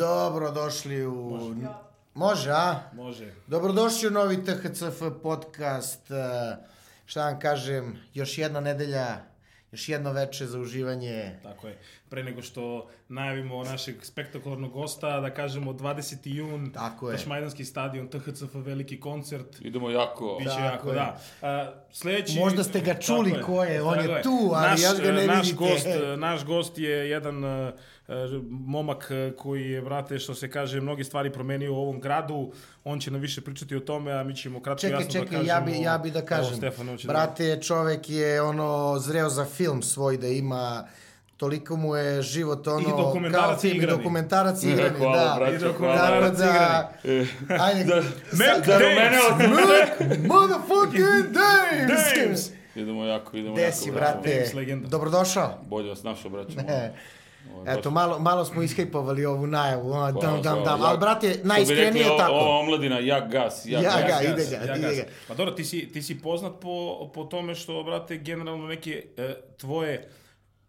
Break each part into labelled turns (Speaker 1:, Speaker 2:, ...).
Speaker 1: Dobrodošli u... Može. Može, a?
Speaker 2: Može.
Speaker 1: Dobrodošli u novi THCF podcast. eh, Šta vam kažem, još jedna nedelja, još jedno veče za uživanje.
Speaker 2: Tako je. Pre nego što najavimo našeg spektakularnog gosta, da kažemo 20. jun,
Speaker 1: Tako je.
Speaker 2: Tašmajdanski stadion, THCF veliki koncert.
Speaker 3: Idemo jako.
Speaker 2: Biće
Speaker 1: Tako
Speaker 2: jako,
Speaker 1: je.
Speaker 2: da. A, sledeći,
Speaker 1: Možda ste ga čuli
Speaker 2: Tako
Speaker 1: ko je, on
Speaker 2: Tako
Speaker 1: je tu, ali ja ga ne
Speaker 2: e, naš
Speaker 1: vidite.
Speaker 2: Gost, e, naš gost je jedan e, e, momak e, koji je, brate, što se kaže, mnoge stvari promenio u ovom gradu. On će nam više pričati o tome, a mi ćemo kratko
Speaker 1: Čekaj,
Speaker 2: jasno da
Speaker 1: čekaj,
Speaker 2: kažemo...
Speaker 1: ja bi, ja bi da kažem.
Speaker 2: Evo, Stefan, hoće
Speaker 1: Brate, čovek je ono zreo za film svoj da ima toliko mu je život ono
Speaker 2: dokumentarac
Speaker 1: film i
Speaker 2: igrani.
Speaker 1: dokumentarac igrani,
Speaker 3: Hvala,
Speaker 1: da.
Speaker 3: braćo,
Speaker 2: I dok-
Speaker 3: hvala.
Speaker 1: Tako
Speaker 2: dokumentarac
Speaker 1: da,
Speaker 3: E,
Speaker 1: ajde,
Speaker 3: Da-
Speaker 1: sad-
Speaker 2: Mac
Speaker 3: Dames!
Speaker 1: Mac motherfucking Dames!
Speaker 2: Dames!
Speaker 3: Idemo jako, idemo jako.
Speaker 1: Desi,
Speaker 3: bravo.
Speaker 1: brate.
Speaker 2: Dames legenda.
Speaker 1: Dobrodošao.
Speaker 3: Bolje vas našao, braćo.
Speaker 1: E,
Speaker 3: Ovo je
Speaker 1: Eto,
Speaker 3: baš-
Speaker 1: malo, malo smo ishejpovali ovu najavu, ono, dam,
Speaker 3: Hvala,
Speaker 1: dam,
Speaker 3: hvala,
Speaker 1: dam,
Speaker 3: jak-
Speaker 1: ali brate,
Speaker 3: što bi
Speaker 1: najiskrenije
Speaker 3: rekli,
Speaker 1: je
Speaker 3: o-
Speaker 1: tako.
Speaker 3: Ova omladina, jak gas, jak
Speaker 1: Ja
Speaker 3: gas.
Speaker 1: ga,
Speaker 2: Gas,
Speaker 1: ide
Speaker 2: gas,
Speaker 1: ga,
Speaker 2: ja
Speaker 1: ide
Speaker 2: gas.
Speaker 1: ga.
Speaker 2: Pa dobro, ti si, ti si poznat po, po tome što, brate, generalno neke e, tvoje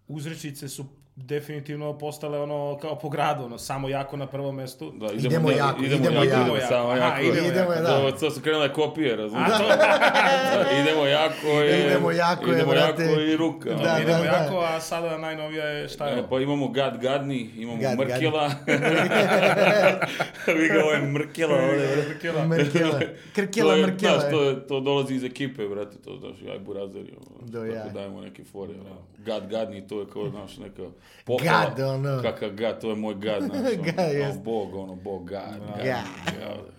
Speaker 2: uzrečice su definitivno postale ono kao po gradu, ono, samo jako na prvom mestu.
Speaker 3: Da, idemo,
Speaker 1: Idemo
Speaker 3: da-
Speaker 1: jako,
Speaker 3: idemo,
Speaker 1: idemo
Speaker 3: jako,
Speaker 1: jako.
Speaker 3: idemo samo
Speaker 2: Aha,
Speaker 3: jako.
Speaker 2: idemo
Speaker 1: Idemo,
Speaker 2: jako.
Speaker 1: da.
Speaker 3: Evo, sad su krenule kopije, razumiješ?
Speaker 2: A, to,
Speaker 3: Da, idemo jako je,
Speaker 1: Idemo jako je,
Speaker 3: idemo
Speaker 1: brate.
Speaker 3: jako i ruka.
Speaker 1: Da,
Speaker 3: ono.
Speaker 1: da.
Speaker 2: idemo jako, a sada najnovija je šta je
Speaker 3: E,
Speaker 2: ovo?
Speaker 3: pa imamo Gad Gadni, imamo
Speaker 1: Gad Gadni.
Speaker 3: Mrkela. Vi ga ovaj ovo je Mrkela, ovo je...
Speaker 2: Krkela.
Speaker 1: Merkela, krkela,
Speaker 3: to je,
Speaker 1: mrkela.
Speaker 3: Znaš, to, je, to dolazi iz ekipe, brate, to znaš, ja, aj burazeri, ono,
Speaker 1: Do ja.
Speaker 3: Do
Speaker 1: jaja.
Speaker 3: tako dajemo neke fore, ono, gad, gadni, to je kao, znaš, neka pohvala.
Speaker 1: Gad, ono.
Speaker 3: Kakav gad, to je moj gad, znaš, ono,
Speaker 1: Gad,
Speaker 3: kao
Speaker 1: jest.
Speaker 3: bog, ono, bog, gad, gad, ja.
Speaker 1: Gad.
Speaker 3: gad.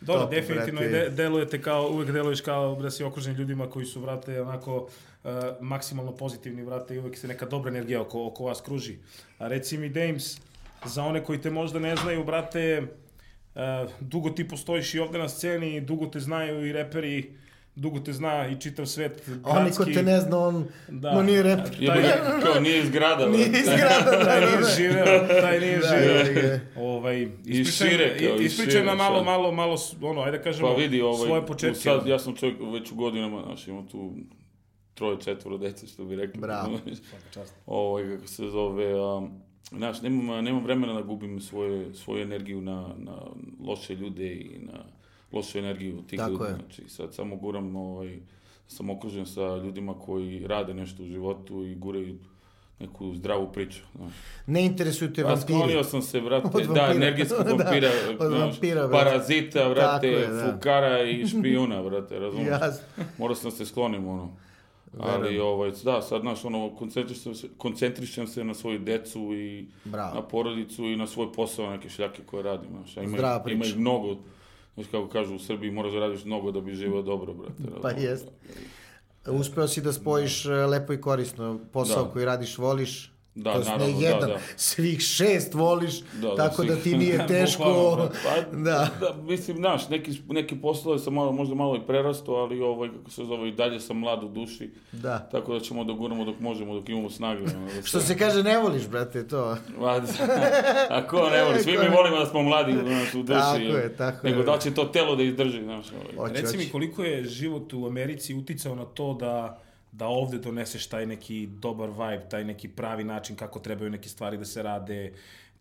Speaker 2: Dobro,
Speaker 1: Top,
Speaker 2: definitivno i
Speaker 1: brate.
Speaker 2: de, delujete kao, uvek deluješ kao da si okružen ljudima koji su, vrate, onako, e, maksimalno pozitivni, vrate, i uvek se neka dobra energija oko, oko vas kruži. A reci mi, Dames, za one koji te možda ne znaju, brate, e, dugo ti postojiš i ovde na sceni, dugo te znaju i reperi, dugo te zna i čitav svet
Speaker 1: Oni ko
Speaker 2: gradski.
Speaker 1: te ne zna, on,
Speaker 2: Da.
Speaker 1: on nije rep.
Speaker 3: Jebe ga, kao, nije iz grada,
Speaker 1: Nije
Speaker 3: brate.
Speaker 1: iz grada, da,
Speaker 2: Taj
Speaker 1: da,
Speaker 2: nije
Speaker 1: da.
Speaker 2: živeo, taj nije
Speaker 1: Da, jebi
Speaker 2: živeo.
Speaker 1: ga.
Speaker 2: Ovaj, ispričaj,
Speaker 3: šire kao, i
Speaker 2: ispričaj
Speaker 3: šire,
Speaker 2: nam malo,
Speaker 3: sad.
Speaker 2: malo, malo, s- ono, ajde da kažemo,
Speaker 3: Pa vidi, ovaj,
Speaker 2: svoje početke. ono.
Speaker 3: Sad, ja sam čovjek već u godinama, znaš, imam tu troje, četvoro dece, što bi rekli.
Speaker 1: Bravo.
Speaker 2: Čast.
Speaker 3: ovaj, kako se zove, um, znaš, nemam, a, nemam vremena da gubim svoje, svoju energiju na, na loše ljude i na lošu energiju tih
Speaker 1: Tako
Speaker 3: ljudi.
Speaker 1: je.
Speaker 3: Znači, sad samo guram, ovaj, sam okružen sa ljudima koji rade nešto u životu i guraju neku zdravu priču. Znaš.
Speaker 1: Ne interesuju te
Speaker 3: Pa sklonio
Speaker 1: vampiri.
Speaker 3: sam se, vrate,
Speaker 1: Od vampira.
Speaker 3: da, energetskog
Speaker 1: Da,
Speaker 3: vampira,
Speaker 1: od
Speaker 3: znaš,
Speaker 1: vampira, brate.
Speaker 3: parazita, vrate,
Speaker 1: Tako je, da.
Speaker 3: fukara i špijuna, vrate, razumiješ?
Speaker 1: Jasno.
Speaker 3: Morao sam da se sklonim, ono. Ali, ovaj, da, sad, znaš, ono, koncentrišem se, koncentrišem se na svoju decu i
Speaker 1: Bravo.
Speaker 3: na porodicu i na svoj posao, neke šljake koje radim, znaš. a Ima,
Speaker 1: Zdrava
Speaker 3: ih-
Speaker 1: priča.
Speaker 3: ima ih mnogo, znaš, kako kažu u Srbiji, moraš da radiš mnogo da bi živao dobro, brate.
Speaker 1: Pa
Speaker 3: razumeš?
Speaker 1: jest. Uspeo si da spojiš e, lepo i korisno posao
Speaker 3: Da.
Speaker 1: koji radiš, voliš.
Speaker 3: Da,
Speaker 1: to jest
Speaker 3: naravno,
Speaker 1: ne
Speaker 3: da,
Speaker 1: jedan,
Speaker 3: da.
Speaker 1: svih šest voliš,
Speaker 3: da,
Speaker 1: tako da
Speaker 3: svih.
Speaker 1: ti nije teško.
Speaker 2: Bukvalno,
Speaker 3: Pa,
Speaker 1: Da.
Speaker 3: da. mislim, znaš, neki, neki poslove sam malo, možda malo i prerastao, ali ovaj, kako se zove, i dalje sam mlad u duši.
Speaker 1: Da.
Speaker 3: Tako da ćemo da guramo dok možemo, dok imamo snage. ono, da
Speaker 1: Što se kaže, ne voliš, brate, to.
Speaker 3: Ma, A ko ne voli, svi mi volimo da smo mladi znaš, u duši.
Speaker 1: Tako je,
Speaker 3: jel?
Speaker 1: tako je.
Speaker 3: Nego da li će to telo da izdrži, znaš. Ovaj.
Speaker 1: Hoće,
Speaker 2: Reci
Speaker 1: hoće.
Speaker 2: mi koliko je život u Americi uticao na to da da ovde doneseš taj neki dobar vibe, taj neki pravi način kako trebaju neke stvari da se rade.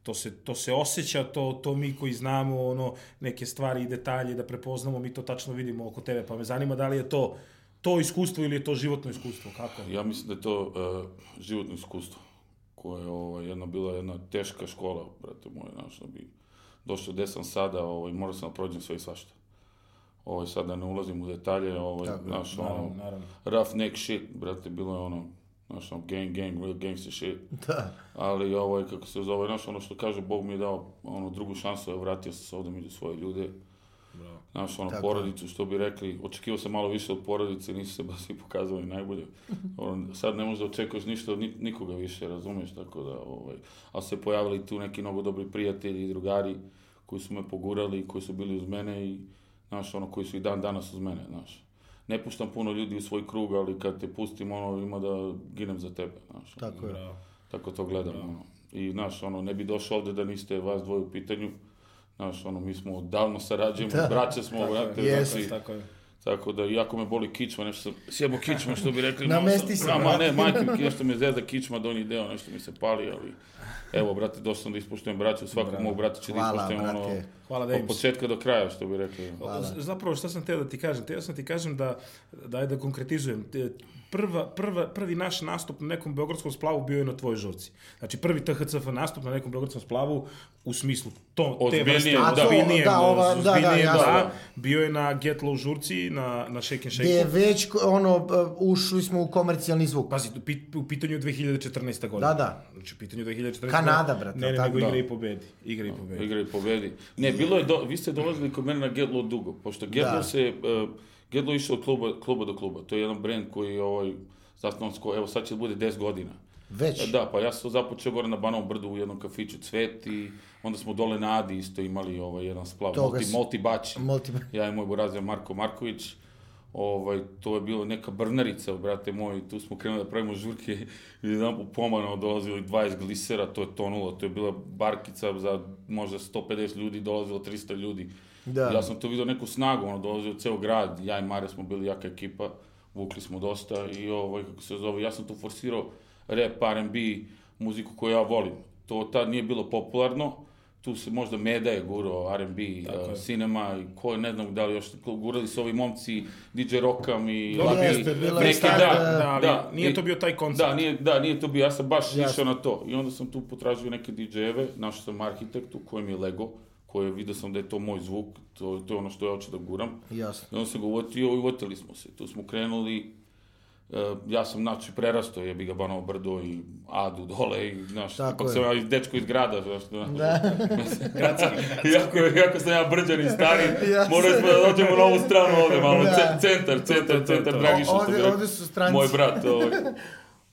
Speaker 2: To se, to se osjeća, to, to mi koji znamo ono, neke stvari i detalje da prepoznamo, mi to tačno vidimo oko tebe. Pa me zanima da li je to to iskustvo ili je to životno iskustvo, kako?
Speaker 3: Ja mislim da je to e, životno iskustvo koje je ovaj, jedna, bila jedna teška škola, brate moje, znaš, da bi došao gde sam sada, ovaj, morao sam da prođem sve i svašta. Ovaj, sad da ne ulazim u detalje, ovaj, znaš,
Speaker 2: Naravno,
Speaker 3: ono,
Speaker 2: naravno.
Speaker 3: rough neck shit, brate, bilo je ono, znaš, ono, gang, gang, real gangster shit.
Speaker 1: Da.
Speaker 3: Ali ovaj, kako se zove, znaš, ono što kažu, Bog mi je dao ono, drugu šansu, evo, vratio sam se ovde među svoje ljude.
Speaker 2: Bravo.
Speaker 3: Znaš, ono,
Speaker 1: Tako je.
Speaker 3: porodicu, što bi rekli, očekivao sam malo više od porodice, nisu se baš svi pokazali najbolje. Ono, sad ne možeš da očekuješ ništa od ni- nikoga više, razumeš, tako da, ovaj, ali su se pojavili tu neki mnogo dobri prijatelji i drugari koji su me pogurali, koji su bili uz mene i, znaš, ono, koji su i dan danas uz mene, znaš. Ne puštam puno ljudi u svoj krug, ali kad te pustim, ono, ima da ginem za tebe, znaš. ono.
Speaker 1: Tako je.
Speaker 2: Bravo.
Speaker 3: Tako to gledam, ono. I, znaš, ono, ne bi došao ovde da niste vas dvoje u pitanju. Znaš, ono, mi smo davno sarađujemo, braće smo, brate,
Speaker 1: Jeste.
Speaker 3: znači,
Speaker 2: Tako je.
Speaker 3: Tako da, iako me boli kičma, nešto sam sjebo kičma, što bi rekli.
Speaker 1: Namesti se,
Speaker 3: se. Ma
Speaker 1: brate.
Speaker 3: ne, majke, mi, nešto me zezda kičma, donji deo, nešto mi se pali, ali... Evo, brate, došao sam da ispoštujem braću, svakog mog brata će da
Speaker 1: Hvala,
Speaker 3: ispoštujem
Speaker 1: brate.
Speaker 2: Hvala,
Speaker 3: ono... Od
Speaker 2: Dames.
Speaker 3: početka do kraja, što bi rekli. ono.
Speaker 2: Pa Z- Zapravo, šta sam teo da ti kažem? Teo sam ti kažem da, da, da konkretizujem. Te- Prva, prva, prvi naš nastup na nekom beogradskom splavu bio je na tvojoj žurci. Znači, prvi THCF nastup na nekom beogradskom splavu u smislu to, te
Speaker 3: Ozbiljnijem,
Speaker 2: vrste,
Speaker 3: da. A to,
Speaker 2: ozbiljnijem,
Speaker 1: da, ova- da, da,
Speaker 2: ozbiljnijem,
Speaker 1: jasno.
Speaker 2: bio je na Get Low žurci, na, na Shake
Speaker 1: Gde
Speaker 2: and Shake.
Speaker 1: je već, ko- ono, b- ušli smo u komercijalni
Speaker 3: Pa-
Speaker 1: zvuk.
Speaker 2: Pazi, u pit- u pitanju je 2014. godina.
Speaker 1: Da, da.
Speaker 2: Znači, u pitanju je 2014.
Speaker 1: Kanada,
Speaker 2: godina.
Speaker 1: brate,
Speaker 2: Ne, ne,
Speaker 1: tako
Speaker 2: nego
Speaker 1: da.
Speaker 2: igra i pobedi. Igra i pobedi.
Speaker 3: Igra i pobedi. Ne, bilo je, do, vi ste dolazili kod mene na Gedlo dugo, pošto Gedlo
Speaker 1: Da.
Speaker 3: se, uh, Gedlo je išao od kluba, kluba do kluba. To je jedan brend koji je ovaj, zasnovan, sko- evo sad će da bude 10 godina.
Speaker 1: Već.
Speaker 3: Da, pa ja sam započeo gore na Banovom brdu u jednom kafiću Cvet i onda smo dole na Adi isto imali ovaj, jedan splav,
Speaker 1: Toga
Speaker 3: multi,
Speaker 1: si-
Speaker 3: multi bači.
Speaker 1: Multi-
Speaker 3: Ja i moj burazir Marko Marković, ovaj, to je bilo neka brnarica, brate moj, tu smo krenuli da pravimo žurke i jedan po pomano dolazilo i 20 glisera, to je tonulo, to je bila barkica za možda 150 ljudi, dolazilo 300 ljudi.
Speaker 1: Da.
Speaker 3: Ja sam tu vidio neku snagu, ono, dolazio ceo grad, ja i Mare smo bili jaka ekipa, vukli smo dosta i ovaj, kako se zove, ja sam tu forsirao rap, R&B, muziku koju ja volim. To tad nije bilo popularno, tu se možda Meda je gurao, R&B,
Speaker 2: Tako je.
Speaker 3: uh, cinema, i ko, ne znam da li još, gurali su ovi momci, DJ Rockam i
Speaker 2: Dobro,
Speaker 3: Labi,
Speaker 1: jeste, bilo je
Speaker 3: neki,
Speaker 1: tad,
Speaker 3: da,
Speaker 1: da,
Speaker 3: da,
Speaker 2: ali nije to bio taj koncept.
Speaker 3: Da, nije, da, nije to bio, ja sam baš išao na to. I onda sam tu potražio neke DJ-eve, našao sam arhitektu kojem je Lego, koji je vidio sam da je to moj zvuk, to, to je ono što ja hoću da guram.
Speaker 1: Jasno.
Speaker 3: I onda sam ga uvotio i uvotili smo se. Tu smo krenuli, e, ja sam, znači, prerastao jebi ga Banovo brdo i Adu dole i, znaš,
Speaker 1: Tako
Speaker 3: ipak
Speaker 1: je.
Speaker 3: sam ja i dečko iz grada, znaš, znaš,
Speaker 1: Da.
Speaker 3: Iako, iako sam ja brđan i stari,
Speaker 1: Ja
Speaker 3: morali smo da dođemo na ovu stranu ovde, malo
Speaker 1: Da.
Speaker 3: ce- centar, centar, centar, Dragiša. što
Speaker 1: Ovde-
Speaker 3: bi rekao.
Speaker 1: ovde su stranci.
Speaker 3: Moj brat, ovaj,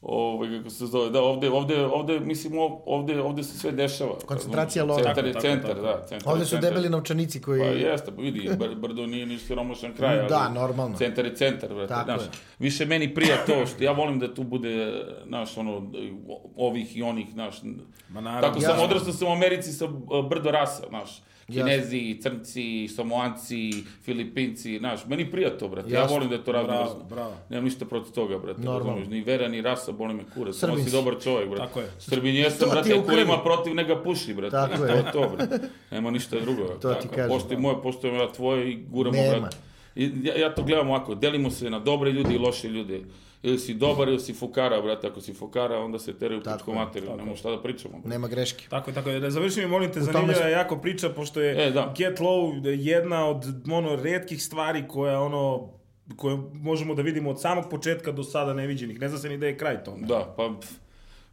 Speaker 3: ovaj, kako se zove, da, ovde, ovde, ovde, mislim, ov- ovde, ovde se sve dešava.
Speaker 1: Koncentracija
Speaker 3: Razumeš?
Speaker 1: lova.
Speaker 3: Centar je
Speaker 2: Tako,
Speaker 3: centar,
Speaker 2: tako,
Speaker 3: da, centar
Speaker 1: Ovde
Speaker 3: je
Speaker 1: su
Speaker 3: centar.
Speaker 1: debeli novčanici koji...
Speaker 3: Pa jeste, pa vidi, Br- Brdo nije ni siromašan kraj, ali...
Speaker 1: Da, normalno.
Speaker 3: Centar je centar, brate,
Speaker 1: Tako
Speaker 3: znaš.
Speaker 1: je.
Speaker 3: Više meni prija to što ja volim da tu bude, znaš, ono, ovih i onih, znaš.
Speaker 2: Ma naravno.
Speaker 3: Tako
Speaker 1: Jasno.
Speaker 3: sam odrastao sam u Americi sa e, brdo rasa, znaš.
Speaker 1: Jasno.
Speaker 3: Kinezi, Crnci, Samoanci, Filipinci, znaš, meni prija to, brate. Ja
Speaker 1: Jasno.
Speaker 3: volim da je to razmrzno.
Speaker 2: bravo.
Speaker 3: Nemam ništa protiv toga, brate.
Speaker 1: Normalno.
Speaker 3: razumeš, Ni vera, ni rasa, boli me kurac. Samo
Speaker 1: Srbin
Speaker 3: si
Speaker 1: si.
Speaker 3: dobar čovjek, brate.
Speaker 2: Tako je.
Speaker 3: Srbin jesam,
Speaker 1: To ti
Speaker 3: brate,
Speaker 1: je u
Speaker 3: ko
Speaker 1: krvi.
Speaker 3: ima protiv, nega puši, brate.
Speaker 1: Tako
Speaker 3: I to
Speaker 1: je.
Speaker 3: je to, brate. Nema ništa drugo.
Speaker 1: To ti kažem.
Speaker 3: Poštujem moje, poštujem ja tvoje i guramo,
Speaker 1: Nema.
Speaker 3: brate. I ja, ja to gledam ovako, delimo se na dobre ljude i loše ljude. Ili si dobar ili si fukara, brate. Ako si fukara, onda se teraju
Speaker 1: Tako
Speaker 3: pičko
Speaker 1: je,
Speaker 3: materiju. Nemo šta da pričamo. brate.
Speaker 1: Nema greške.
Speaker 2: Tako je, tako je. Da završim je, molim te,
Speaker 1: tome
Speaker 2: zanimljiva
Speaker 1: smo-
Speaker 2: je jako priča, pošto je
Speaker 3: E, da.
Speaker 2: Get Low jedna od ono, redkih stvari koja ono koje možemo da vidimo od samog početka do sada neviđenih. Ne zna se ni da je kraj tome.
Speaker 3: Da, pa pf,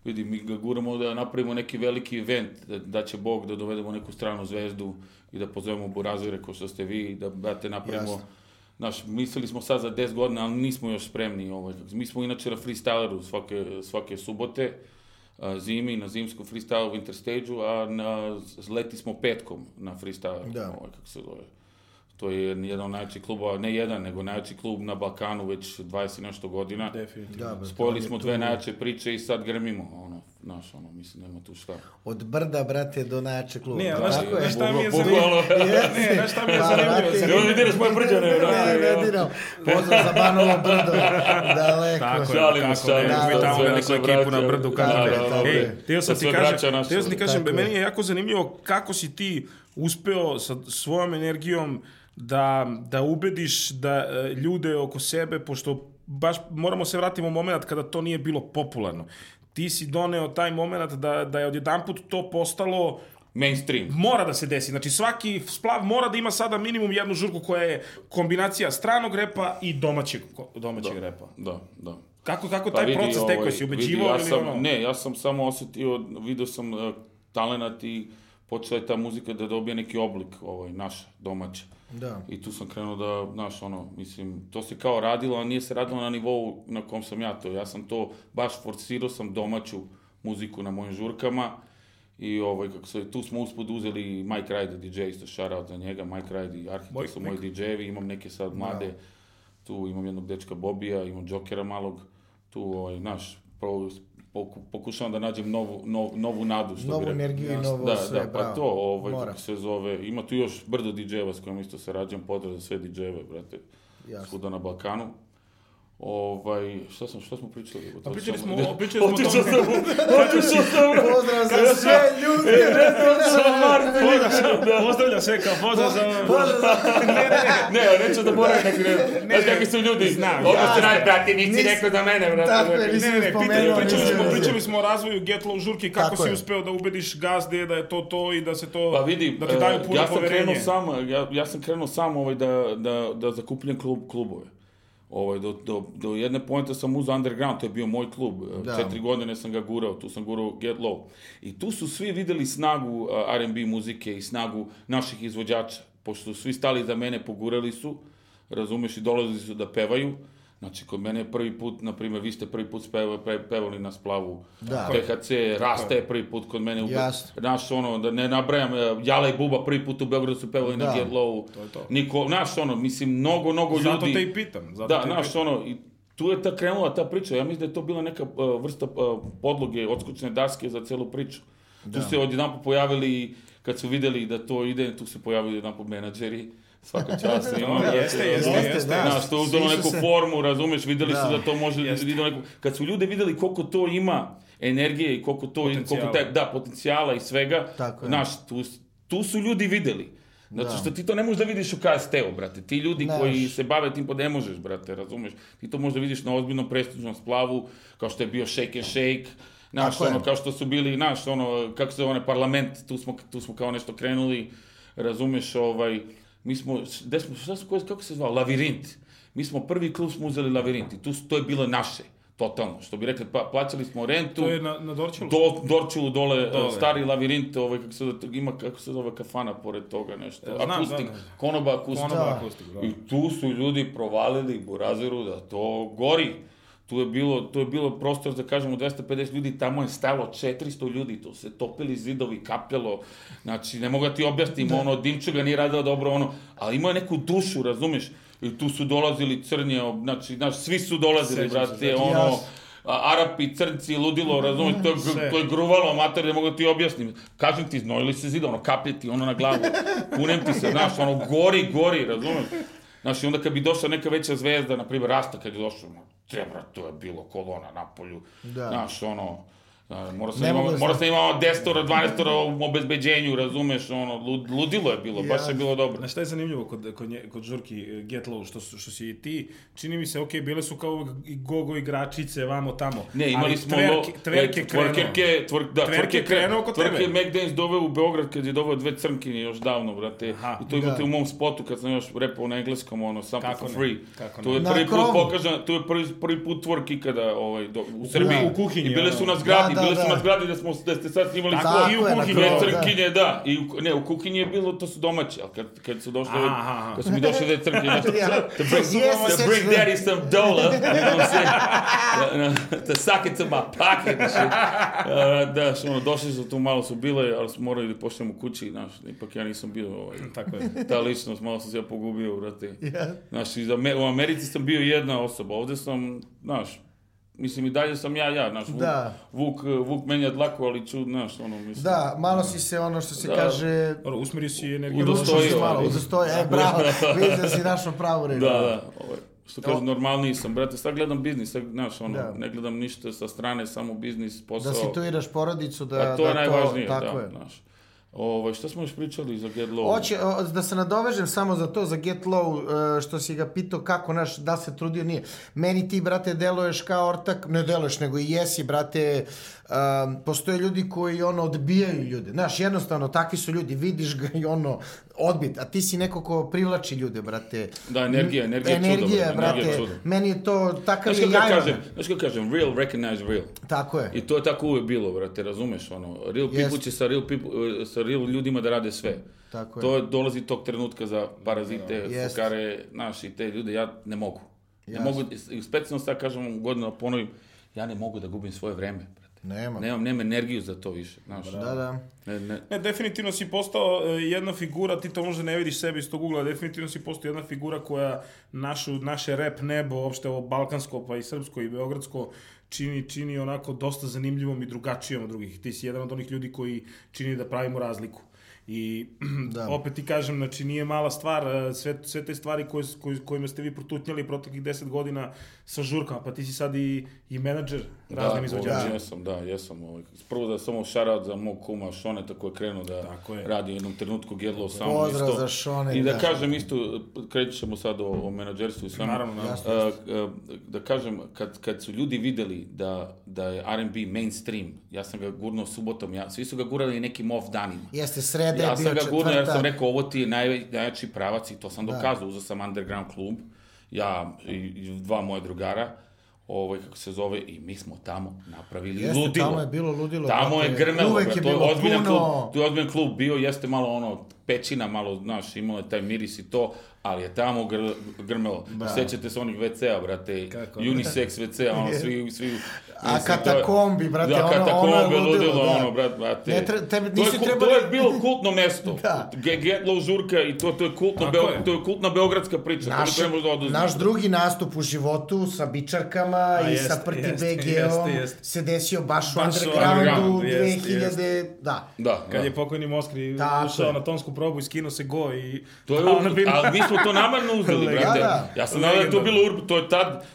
Speaker 3: vidi, mi ga guramo da napravimo neki veliki event, da, da će Bog da dovedemo neku stranu zvezdu i da pozovemo burazire ko što ste vi, da, brate, napravimo...
Speaker 1: Jasno.
Speaker 3: Znaš, mislili smo sad za 10 godina, ali nismo još spremni. Ovaj. Mi smo inače na freestyleru svake, svake subote, a, zimi, na zimskom freestylu u Interstage-u, a na, s- leti smo petkom na freestyleru.
Speaker 1: Da.
Speaker 3: Ovaj, kako se zove. To je jedan od najjačih klubova, ne jedan, nego najjači klub na Balkanu već 20 i nešto godina.
Speaker 2: Definitivno.
Speaker 1: Da, brate, on
Speaker 3: Spojili
Speaker 1: je
Speaker 3: smo
Speaker 1: tu-
Speaker 3: dve najjače priče i sad grmimo, ono, znaš, ono, mislim, nema tu šta.
Speaker 1: Od brda, brate, do najjače kluba.
Speaker 2: Ne, a
Speaker 1: Tako
Speaker 2: znaš,
Speaker 1: je.
Speaker 2: znaš šta mi je
Speaker 3: Bukvalno.
Speaker 2: zanimljivo?
Speaker 1: Jeste.
Speaker 2: Ne, znaš šta mi je
Speaker 1: Pa,
Speaker 2: zanimljivo?
Speaker 1: brate,
Speaker 2: Zanimljivo-
Speaker 3: Nemoj mi diraš moje brđane,
Speaker 1: Ne,
Speaker 3: brate,
Speaker 1: ne
Speaker 3: ja.
Speaker 1: diram. Pozdrav za Banovo brdo. Daleko.
Speaker 2: Tako
Speaker 3: Šalimo,
Speaker 2: je, kako ne,
Speaker 3: šalimo,
Speaker 2: mi tamo
Speaker 3: sve
Speaker 2: na
Speaker 3: naše
Speaker 2: neku ekipu na
Speaker 3: braće.
Speaker 2: brdu
Speaker 3: Da,
Speaker 2: Kanade.
Speaker 1: da, da,
Speaker 2: Ej,
Speaker 1: da.
Speaker 2: teo sam
Speaker 3: To
Speaker 2: ti
Speaker 3: sve braća
Speaker 2: kažem,
Speaker 3: naša.
Speaker 2: teo sam ti kažem,
Speaker 1: Tako je.
Speaker 2: meni je jako zanimljivo kako si ti uspeo sa svojom energijom da, da ubediš da e, ljude oko sebe, pošto baš moramo se vratiti u moment kada to nije bilo popularno. Ti si doneo taj moment da, da je odjedanput to postalo
Speaker 3: Mainstream.
Speaker 2: mora da se desi. Znači svaki splav mora da ima sada minimum jednu žurku koja je kombinacija stranog repa i domaćeg, domaćeg repa.
Speaker 3: Da, da.
Speaker 2: Kako, kako
Speaker 3: Pa
Speaker 2: taj
Speaker 3: vidi,
Speaker 2: proces
Speaker 3: ovaj,
Speaker 2: tekao si ubeđivao
Speaker 3: vidi, ja
Speaker 2: ili
Speaker 3: sam,
Speaker 2: ono?
Speaker 3: Ne, ja sam samo osetio, vidio sam uh, talenat i počela je ta muzika da dobije neki oblik, ovaj, naš, domaća.
Speaker 1: Da.
Speaker 3: I tu sam krenuo da, znaš, ono, mislim, to se kao radilo, a nije se radilo na nivou na kom sam ja to. Ja sam to, baš forsirao sam domaću muziku na mojim žurkama i ovaj, kako se, tu smo uspod uzeli Mike Ryder, DJ, isto shoutout za njega, Mike Ryder i Arhitekt su moji DJ-evi, imam neke sad mlade, tu imam jednog dečka Bobija, imam Jokera malog, tu, ovaj, znaš, pro- poku- pokušavam da nađem novu, nov, novu nadu. Što bi
Speaker 1: Novu
Speaker 3: rekao.
Speaker 1: energiju i
Speaker 3: Jasno.
Speaker 1: novo
Speaker 3: da,
Speaker 1: sve,
Speaker 3: Da,
Speaker 1: bravo.
Speaker 3: pa to, ovaj,
Speaker 1: Mora.
Speaker 3: kako se zove, ima tu još brdo DJ-eva s kojima isto sarađujem, pozdrav za sve DJ-eve, brate.
Speaker 1: Jasno.
Speaker 3: svuda na Balkanu. Ovaj, šta sam, šta smo pričali?
Speaker 2: Pa
Speaker 3: Otišao
Speaker 2: pričali
Speaker 3: sam-
Speaker 2: smo,
Speaker 3: ne,
Speaker 2: pričali smo o
Speaker 3: Otišao sam,
Speaker 2: tome.
Speaker 3: otišao sam.
Speaker 1: Pozdrav za sve ljude!
Speaker 2: Pozdravlja sve kao pozdrav za...
Speaker 1: Pozdrav za-
Speaker 3: Ne, ja neću da moram na kraju. Znaš kakvi su ljudi?
Speaker 2: Znam,
Speaker 3: Odmah
Speaker 1: jasno.
Speaker 3: se naj, brate, nisi
Speaker 1: Nisi-
Speaker 3: rekao za mene, brate.
Speaker 1: Tako je,
Speaker 3: brate.
Speaker 1: nisi-
Speaker 2: Ne, ne, ne,
Speaker 1: spomenuo,
Speaker 2: pitanje, pričali,
Speaker 1: nisam
Speaker 2: smo,
Speaker 1: razumio.
Speaker 2: pričali smo o razvoju Get Low žurke, kako
Speaker 1: Tako
Speaker 2: si
Speaker 1: je.
Speaker 2: uspeo da ubediš gazde da je to to i da se to,
Speaker 3: Pa vidi,
Speaker 2: da ti
Speaker 3: e,
Speaker 2: daju puno
Speaker 3: ja sam krenuo
Speaker 2: poverenje.
Speaker 3: sam, ja, ja sam krenuo sam ovaj da, da, da zakupljam klub, klubove. Ovaj, do, do, do jedne pojente sam uz Underground, to je bio moj klub. E,
Speaker 1: Da.
Speaker 3: Četiri godine sam ga gurao, tu sam gurao Get Low. I tu su svi videli snagu e, a, R&B muzike i snagu naših izvođača. Pošto su svi stali za mene, pogurali su, razumeš, i dolazili su da pevaju. Znači, kod mene je prvi put, na primjer, vi ste prvi put speva, pe, pevali na splavu.
Speaker 1: Da.
Speaker 3: THC, Rasta je prvi put kod mene u Be-
Speaker 1: Jasno.
Speaker 3: Znaš, ono, da ne nabrajam, e, Jala i Buba prvi put u Beogradu su pevali
Speaker 1: Da.
Speaker 3: na Get Low.
Speaker 2: To je to.
Speaker 3: Niko, znaš, ono, mislim, mnogo, mnogo ljudi...
Speaker 2: Zato te i pitam. Zato
Speaker 3: Da,
Speaker 2: te i
Speaker 3: znaš,
Speaker 2: pitam.
Speaker 3: ono, i tu je ta krenula ta priča. Ja mislim da je to bila neka e, vrsta e, podloge, odskučne daske za celu priču. Tu se odjedan pojavili, kad su videli da to ide, tu se pojavili jedan menadžeri. Svaka čast, ima. znači, ono,
Speaker 2: Jeste, jeste,
Speaker 1: Jeste,
Speaker 2: jeste.
Speaker 1: da.
Speaker 3: Znaš, to je uzelo
Speaker 1: Svi su
Speaker 3: neku
Speaker 1: se-
Speaker 3: formu, razumeš, videli su
Speaker 1: Da.
Speaker 3: da to može,
Speaker 2: Jeste.
Speaker 3: videli neku... Kad su ljudi videli koliko to ima energije i koliko to... i Koliko
Speaker 2: Potencijala.
Speaker 3: taj, da, potencijala i svega,
Speaker 1: Tako je.
Speaker 3: znaš, tu, s- tu su ljudi videli. Zato
Speaker 1: Da.
Speaker 3: što ti to ne možeš da vidiš u KST-u, brate. Ti ljudi
Speaker 1: Ne
Speaker 3: koji
Speaker 1: možeš.
Speaker 3: se bave tim, pa ne možeš, brate, razumeš? Ti to možda vidiš na ozbiljnom prestižnom splavu, kao što je bio Shake and Shake, Naš,
Speaker 1: Tako je.
Speaker 3: ono, kao što su bili, naš, ono, kako se zove, onaj parlament, tu smo, tu smo kao nešto krenuli, razumeš, ovaj, mi smo, gde smo, šta smo, koje- kako se zvao, Lavirint. Mi smo prvi klub smo uzeli Lavirint i tu, s- to je bilo naše, totalno, što bi rekli, pa, plaćali smo rentu,
Speaker 2: To je na, na Dorčelu.
Speaker 3: do, Dorčulu dole,
Speaker 2: Dole.
Speaker 3: e, stari Lavirint, ovaj, kako se, zove, ima, kako se zove, kafana pored toga, nešto,
Speaker 2: E, znam,
Speaker 3: akustik,
Speaker 2: znam.
Speaker 3: konoba akustik.
Speaker 2: Konoba Da. akustik, da.
Speaker 3: I tu su ljudi provalili Burazeru da to gori. Tu je bilo, tu je bilo prostor za kažemo 250 ljudi, tamo je stalo 400 ljudi, tu se topili zidovi, kapljalo. Znači ne mogu da ti objasnim, ono Dimčuga nije radila dobro ono, ali ima neku dušu, razumeš? I tu su dolazili crnje, ob- znači znaš, svi su
Speaker 2: Sećam
Speaker 3: dolazili,
Speaker 2: se,
Speaker 3: brate,
Speaker 2: sećam
Speaker 1: se.
Speaker 3: ono
Speaker 1: Jasno.
Speaker 3: a, Arapi, crnci, ludilo, razumiješ, to je,
Speaker 2: Sve.
Speaker 3: gr- to je gruvalo, mater, ne mogu da ti objasnim. Kažem ti, znojili se zida, ono, kaplje ti, ono na glavu, kunem ti se, znaš, ono, gori, gori, razumiješ. Znaš, i onda kad bi došla neka veća zvezda, na primjer, Rasta kad je došao, ono, te, brate, to je bilo kolona na polju,
Speaker 1: Da.
Speaker 3: znaš, ono, a, Morao sam,
Speaker 1: Ne
Speaker 3: imao,
Speaker 1: mogu da
Speaker 3: morao
Speaker 1: se-
Speaker 3: sam imao 10 12 u obezbeđenju, razumeš, ono, lud- ludilo je bilo, baš
Speaker 1: Jasno.
Speaker 3: je bilo dobro.
Speaker 2: Znaš šta je zanimljivo kod, kod, nje, kod žurki e, Get Low, što, su- što si i ti, čini mi se, ok, bile su kao i gogo igračice, vamo tamo.
Speaker 3: Ne, imali
Speaker 2: ali
Speaker 3: smo
Speaker 2: tverke,
Speaker 3: lo-
Speaker 2: tverke
Speaker 3: e, tverkerke, tver, da,
Speaker 2: Tverke
Speaker 3: tverke
Speaker 2: krenuo
Speaker 3: krenuo
Speaker 2: kod
Speaker 3: tverke
Speaker 2: tebe.
Speaker 3: je McDance doveo u Beograd kad je doveo dve crnkinje još davno, brate.
Speaker 2: Aha.
Speaker 3: I to imate
Speaker 1: Da.
Speaker 3: u mom spotu kad sam još repao na engleskom, ono, sample
Speaker 2: Kako
Speaker 3: for
Speaker 2: ne,
Speaker 3: free.
Speaker 2: kako ne.
Speaker 3: to je
Speaker 1: Na
Speaker 3: prvi put
Speaker 1: krovu.
Speaker 3: pokažan, to je prvi, prvi put twerk ikada ovaj, do, u Srbiji.
Speaker 2: u kuhinji,
Speaker 3: I bile
Speaker 2: ono.
Speaker 3: su na zgradi,
Speaker 1: Da, da,
Speaker 3: bile su
Speaker 1: da.
Speaker 3: na zgradi da, smo, da ste sad snimali
Speaker 2: Tako,
Speaker 3: spot.
Speaker 1: Tako
Speaker 2: i u
Speaker 1: je, na
Speaker 2: kuhinji.
Speaker 1: kraju,
Speaker 3: Dve
Speaker 1: da.
Speaker 3: crnkinje, da. I u, ne, u kuhinji je bilo, to su domaći, ali kad, kad su došli,
Speaker 2: Aha, aha.
Speaker 3: kad su mi došli dve crnkinje, nešto,
Speaker 1: Ja.
Speaker 3: to bring,
Speaker 1: Jeste,
Speaker 3: to bring
Speaker 1: sećam se.
Speaker 3: daddy some dola, you know what I'm saying? Da, da, to suck it to my pocket, and shit. A, da, što ono, došli su tu, malo su bile, ali smo morali da počnemo kući, znaš, ipak ja nisam bio, ovaj,
Speaker 2: Tako je.
Speaker 3: ta ličnost, malo sam se ja pogubio, brate. Znaš, iz Ame- u Americi sam bio jedna osoba, ovdje sam, znaš, mislim i dalje sam ja, ja, znaš, Vuk,
Speaker 1: Da.
Speaker 3: Vuk, Vuk meni je dlako, ali čud, znaš, ono, mislim.
Speaker 1: Da, malo si se ono što se
Speaker 3: Da.
Speaker 1: kaže...
Speaker 2: Dobro, usmeri si energiju.
Speaker 3: Udostojio.
Speaker 1: Udostoji, malo,
Speaker 3: ali.
Speaker 1: udostoji, e, bravo, vidiš da si našao pravu reč.
Speaker 3: Da, da, ovaj, što
Speaker 1: O-
Speaker 3: kažem, normalniji sam, brate, sad gledam biznis, sad, znaš, ono,
Speaker 1: Da.
Speaker 3: ne gledam ništa sa strane, samo biznis, posao.
Speaker 1: Da situiraš porodicu, da...
Speaker 3: A Pa to
Speaker 1: da
Speaker 3: je najvažnije,
Speaker 1: tako
Speaker 3: da,
Speaker 1: je.
Speaker 3: znaš. Ovaj, šta smo još pričali za Get Low?
Speaker 1: Hoće, o, da se nadovežem samo za to, za Get Low, e, što si ga pitao kako naš, da li se trudio, nije. Meni ti, brate, deluješ kao ortak, ne deluješ, nego i jesi, brate, um, postoje ljudi koji, ono, odbijaju ljude. Znaš, jednostavno, takvi su ljudi, vidiš ga i, ono, odbit, a ti si neko ko privlači ljude, brate.
Speaker 3: Da, energija, energija je čudo,
Speaker 1: Energija,
Speaker 3: brate,
Speaker 1: brate,
Speaker 3: energija je čudo.
Speaker 1: meni je to, takav
Speaker 3: Znaš
Speaker 1: je
Speaker 3: kako ja
Speaker 1: jajan.
Speaker 3: kažem, znaš kako kažem, real recognize real.
Speaker 1: Tako je.
Speaker 3: I to je tako uvijek bilo, brate, razumeš, ono, real
Speaker 1: Jest.
Speaker 3: people će sa real, people, eh, sa real ljudima da rade sve.
Speaker 1: Tako je.
Speaker 3: To dolazi tog trenutka za parazite,
Speaker 1: Jest.
Speaker 3: fukare, naši te ljude, ja ne mogu. Ne mogu, i specijalno sad kažem godinu ponovim, ja ne mogu da gubim svoje vreme, brate.
Speaker 1: Nema.
Speaker 3: Nemam, nemam energiju za to više, znaš.
Speaker 1: Da, da.
Speaker 3: Ne, ne.
Speaker 2: Ne, definitivno si postao e, jedna figura, ti to možda ne vidiš sebe iz tog ugla, definitivno si postao jedna figura koja našu, naše rap nebo, uopšte ovo balkansko, pa i srpsko i beogradsko, čini, čini onako dosta zanimljivom i drugačijom od drugih. Ti si jedan od onih ljudi koji čini da pravimo razliku. I
Speaker 1: Da.
Speaker 2: da. opet ti kažem, znači nije mala stvar, e, sve, sve te stvari koje, koje, kojima ste vi protutnjali proteklih 10 godina sa žurkama, pa ti si sad i, i menadžer raznim
Speaker 3: da,
Speaker 2: izvođačima.
Speaker 3: Da, jesam, da, jesam. Ovaj. Prvo da samo šarat za mog kuma Šoneta koji je krenuo da
Speaker 2: Tako je.
Speaker 3: radi u jednom trenutku Gedlo samo
Speaker 1: Pozdrav
Speaker 3: isto.
Speaker 1: za Šone,
Speaker 3: I da,
Speaker 1: da.
Speaker 3: kažem isto, krećemo ćemo sad o, o menadžerstvu i svemu.
Speaker 2: Naravno, naravno.
Speaker 1: Jasno,
Speaker 3: E, e, da kažem, kad, kad su ljudi videli da, da je R&B mainstream, ja sam ga gurnuo subotom, ja, svi su ga gurali nekim off danima.
Speaker 1: Jeste sreda,
Speaker 3: Ja
Speaker 1: je bio
Speaker 3: sam ga gurnuo jer sam
Speaker 1: četvrtak.
Speaker 3: rekao ovo ti je naj, najjači pravac i to sam dokazao. Uzeo sam underground klub, ja i, i dva moje drugara, ovaj, kako se zove, i mi smo tamo napravili
Speaker 1: Jeste,
Speaker 3: ludilo.
Speaker 1: tamo je bilo ludilo,
Speaker 3: Tamo
Speaker 1: brate.
Speaker 3: je grmelo,
Speaker 1: Uvek
Speaker 3: brate,
Speaker 1: je
Speaker 3: to je
Speaker 1: bilo
Speaker 3: ozbiljan
Speaker 1: puno.
Speaker 3: klub, tu je ozbiljan klub bio, jeste malo ono, pećina malo, znaš, imalo je taj miris i to, ali je tamo gr, grmelo. Sećate se onih WC-a, brate,
Speaker 2: Kako?
Speaker 3: unisex WC-a, ono, svi, svi...
Speaker 1: A
Speaker 3: mislim, to je-
Speaker 1: katakombi, brate, ono-
Speaker 3: da,
Speaker 1: ono je
Speaker 3: katakombi,
Speaker 1: ludilo,
Speaker 3: ludilo,
Speaker 1: da.
Speaker 3: ono, brat, brate.
Speaker 1: Ne tre- tebi-
Speaker 3: To je
Speaker 1: nisi
Speaker 3: ku-
Speaker 1: trebali-
Speaker 3: To je bilo kultno mesto.
Speaker 1: Da.
Speaker 3: Ge- Getlo žurka i to, to je kultno,
Speaker 2: Tako
Speaker 3: beo,
Speaker 2: je.
Speaker 3: to je kultna beogradska priča.
Speaker 1: Naš,
Speaker 3: Naš, to ne možeš da oduzmeš.
Speaker 1: naš drugi nastup u životu sa bičarkama i
Speaker 2: jeste,
Speaker 1: sa Prti
Speaker 2: jeste,
Speaker 1: BG-om
Speaker 2: jeste, jeste.
Speaker 1: se desio baš u
Speaker 2: Baš u
Speaker 1: undergroundu
Speaker 2: undergroundu, jeste,
Speaker 1: 2000, da.
Speaker 3: Da,
Speaker 2: Kad
Speaker 3: da.
Speaker 2: je pokojni Moskri
Speaker 1: Tako
Speaker 2: ušao
Speaker 1: je.
Speaker 2: na tonsku probu i skinuo se go i...
Speaker 3: To je
Speaker 2: a ona
Speaker 3: urb,
Speaker 2: bila-
Speaker 3: ali mi smo to namerno uzeli,
Speaker 2: Legenda.
Speaker 3: brate.
Speaker 1: Da,
Speaker 3: Ja sam nadal da je to
Speaker 2: Legenda.
Speaker 3: bilo urb, to je tad,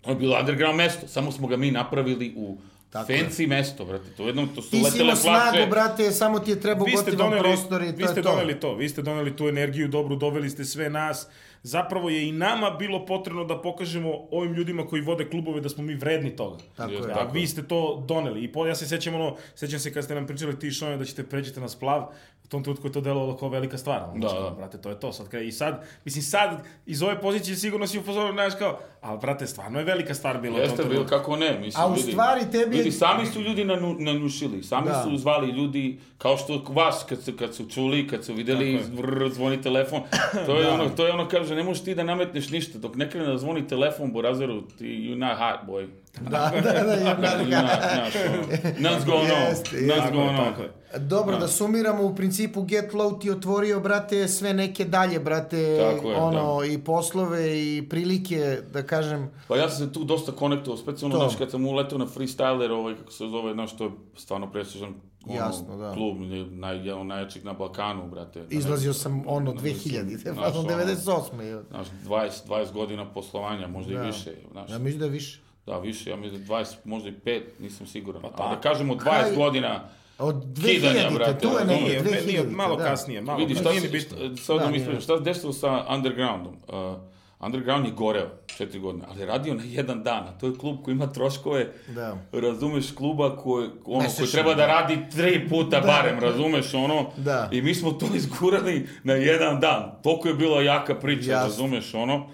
Speaker 3: to je bilo underground mesto, samo smo ga mi napravili u
Speaker 1: Tako je.
Speaker 3: fancy mesto, brate. To jednom, to su
Speaker 1: Ti si
Speaker 3: letele
Speaker 1: imao
Speaker 3: flaše.
Speaker 1: snagu, brate, samo ti je trebao
Speaker 2: vi ste
Speaker 1: gotivan
Speaker 2: doneli,
Speaker 1: prostor i to
Speaker 2: vi ste
Speaker 1: je to.
Speaker 2: doneli to, vi ste doneli tu energiju dobru, doveli ste sve nas. Zapravo je i nama bilo potrebno da pokažemo ovim ljudima koji vode klubove da smo mi vredni toga.
Speaker 1: Tako je.
Speaker 3: Jeste,
Speaker 2: A vi ste to doneli. I po, ja se sećam ono, sećam se kad ste nam pričali ti Šone da ćete pređete na splav, u tom trenutku je to delovalo kao velika stvar. Ono,
Speaker 3: Da,
Speaker 2: znači,
Speaker 3: da.
Speaker 2: Brate, to je to. Sad, kad- I sad, mislim sad, iz ove pozicije sigurno si upozorio, znaš kao, ali brate, stvarno je velika stvar bila. u tom
Speaker 3: Jeste bilo,
Speaker 2: trenutku.
Speaker 3: kako ne, mislim,
Speaker 1: A u stvari tebi je-
Speaker 3: Ljudi, sami su ljudi nanu, nanušili, sami
Speaker 1: Da.
Speaker 3: su zvali ljudi, kao što vas, kad su, kad su čuli, kad su videli, vrr, zvoni telefon, to je, ono, to je ono, kaže, ne možeš ti da nametneš ništa, dok ne krene da zvoni telefon, Borazeru, ti, you're not hot, boy.
Speaker 1: Da, da, da, da, da,
Speaker 3: You're
Speaker 1: da.
Speaker 3: not, znaš, ono, Nuts going on,
Speaker 1: Jeste,
Speaker 3: nuts
Speaker 2: Tako je,
Speaker 3: going on.
Speaker 2: tako je.
Speaker 1: Dobro, da sumiramo, u principu Get Low ti otvorio, brate, sve neke dalje, brate,
Speaker 3: Tako je,
Speaker 1: ono, i poslove i prilike, da kažem,
Speaker 3: Pa ja sam se tu dosta konektovao, specijalno
Speaker 1: To.
Speaker 3: znaš, kad sam uletao na freestyler, ovaj, kako se zove, znaš, to je stvarno prestižan ono,
Speaker 1: Jasno, da.
Speaker 3: klub, je naj, jedan od najjačih na Balkanu, brate.
Speaker 1: izlazio sam, ono, pa, 2000,
Speaker 3: Znaš, ono,
Speaker 1: 98.
Speaker 3: Znaš, 20, 20 godina poslovanja, možda
Speaker 1: Da.
Speaker 3: i više, znaš.
Speaker 1: Ja mislim da je više.
Speaker 3: Da, više, ja mislim 20, možda i 5, nisam siguran. Pa
Speaker 2: tako.
Speaker 3: da kažemo 20
Speaker 1: Kaj-
Speaker 3: godina,
Speaker 1: Od
Speaker 3: Kidanja,
Speaker 1: 2000-te,
Speaker 3: brate,
Speaker 1: tu je
Speaker 3: razumeš?
Speaker 1: negdje,
Speaker 2: Nije,
Speaker 1: 2000
Speaker 2: nije, malo kasnije, malo
Speaker 3: vidi šta
Speaker 2: kasnije.
Speaker 3: se,
Speaker 2: Pa, Nije ni bitno.
Speaker 3: šta- sad da,
Speaker 1: Da,
Speaker 3: mi
Speaker 1: nije.
Speaker 3: ispričam, šta se desilo sa Undergroundom? Uh, Underground je goreo četiri godine, ali je radio na jedan dan, a to je klub koji ima troškove
Speaker 1: Da.
Speaker 3: razumeš kluba koji ono
Speaker 1: Mesečno,
Speaker 3: koji treba
Speaker 1: da.
Speaker 3: da radi tri puta barem razumeš ono
Speaker 1: Da.
Speaker 3: i mi smo to izgurali na jedan dan toliko je bila jaka priča
Speaker 1: Jasno.
Speaker 3: razumeš ono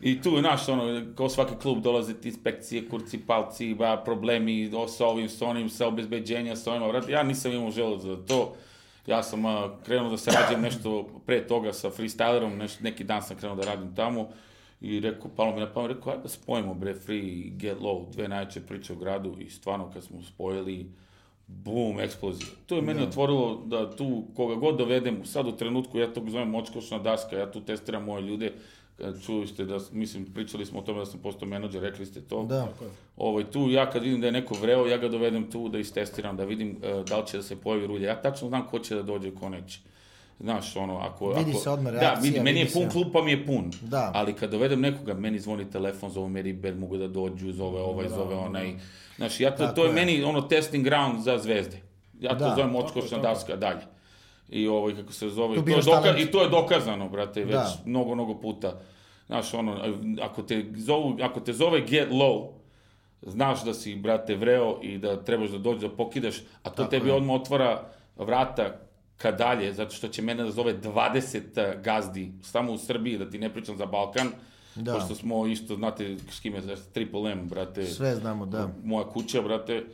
Speaker 3: i tu, znaš, ono, kao svaki klub dolaze ti inspekcije, kurci, palci, ba, problemi o, sa ovim, sa onim, sa obezbeđenja, sa ovima, vrati, ja nisam imao želod za to. Ja sam a, krenuo da se radim nešto pre toga sa freestylerom, neš, neki dan sam krenuo da radim tamo i rekao, palo mi na pamet, rekao, ajde da spojimo bre free i get low, dve najjače priče u gradu i stvarno kad smo spojili, bum, eksplozija. To je meni otvorilo da tu koga god dovedem, sad u trenutku ja to zovem očkošna daska, ja tu testiram moje ljude, Kad čuli ste da, mislim, pričali smo o tome da sam postao menadžer, rekli ste to.
Speaker 1: Da.
Speaker 3: Ovaj, tu ja kad vidim da je neko vreo, ja ga dovedem tu da istestiram, da vidim e, da li će da se pojavi rulja. Ja tačno znam ko će da dođe, ko neće. Znaš, ono, ako...
Speaker 1: Vidi
Speaker 3: ako,
Speaker 1: se odmah
Speaker 3: Da,
Speaker 1: reakcija,
Speaker 3: vidi, meni
Speaker 1: vidi
Speaker 3: je pun
Speaker 1: se.
Speaker 3: klub, pa mi je pun.
Speaker 1: Da.
Speaker 3: Ali kad dovedem nekoga, meni zvoni telefon, zove me Riber, mogu da dođu, zove ovaj, zove onaj. Znaš, ja to,
Speaker 1: Tako
Speaker 3: to je,
Speaker 1: je.
Speaker 3: meni ono testing ground za zvezde. Ja to
Speaker 1: Da.
Speaker 3: zovem odskočna daska dalje. I ovaj, kako se zove,
Speaker 1: Tu
Speaker 3: i to, je
Speaker 1: biraš
Speaker 3: doka-
Speaker 1: talent.
Speaker 3: i to je dokazano, brate, već
Speaker 1: Da.
Speaker 3: mnogo, mnogo puta. Znaš, ono, ako te, zovu, ako te zove get low, znaš da si, brate, vreo i da trebaš da dođeš da pokidaš, a to tebi odmah otvara vrata ka dalje, zato što će mene da zove 20 gazdi, samo u Srbiji, da ti ne pričam za Balkan,
Speaker 1: Da.
Speaker 3: pošto smo isto, znate, s kime, s Triple M, brate,
Speaker 1: Sve znamo, da.
Speaker 3: moja kuća, brate,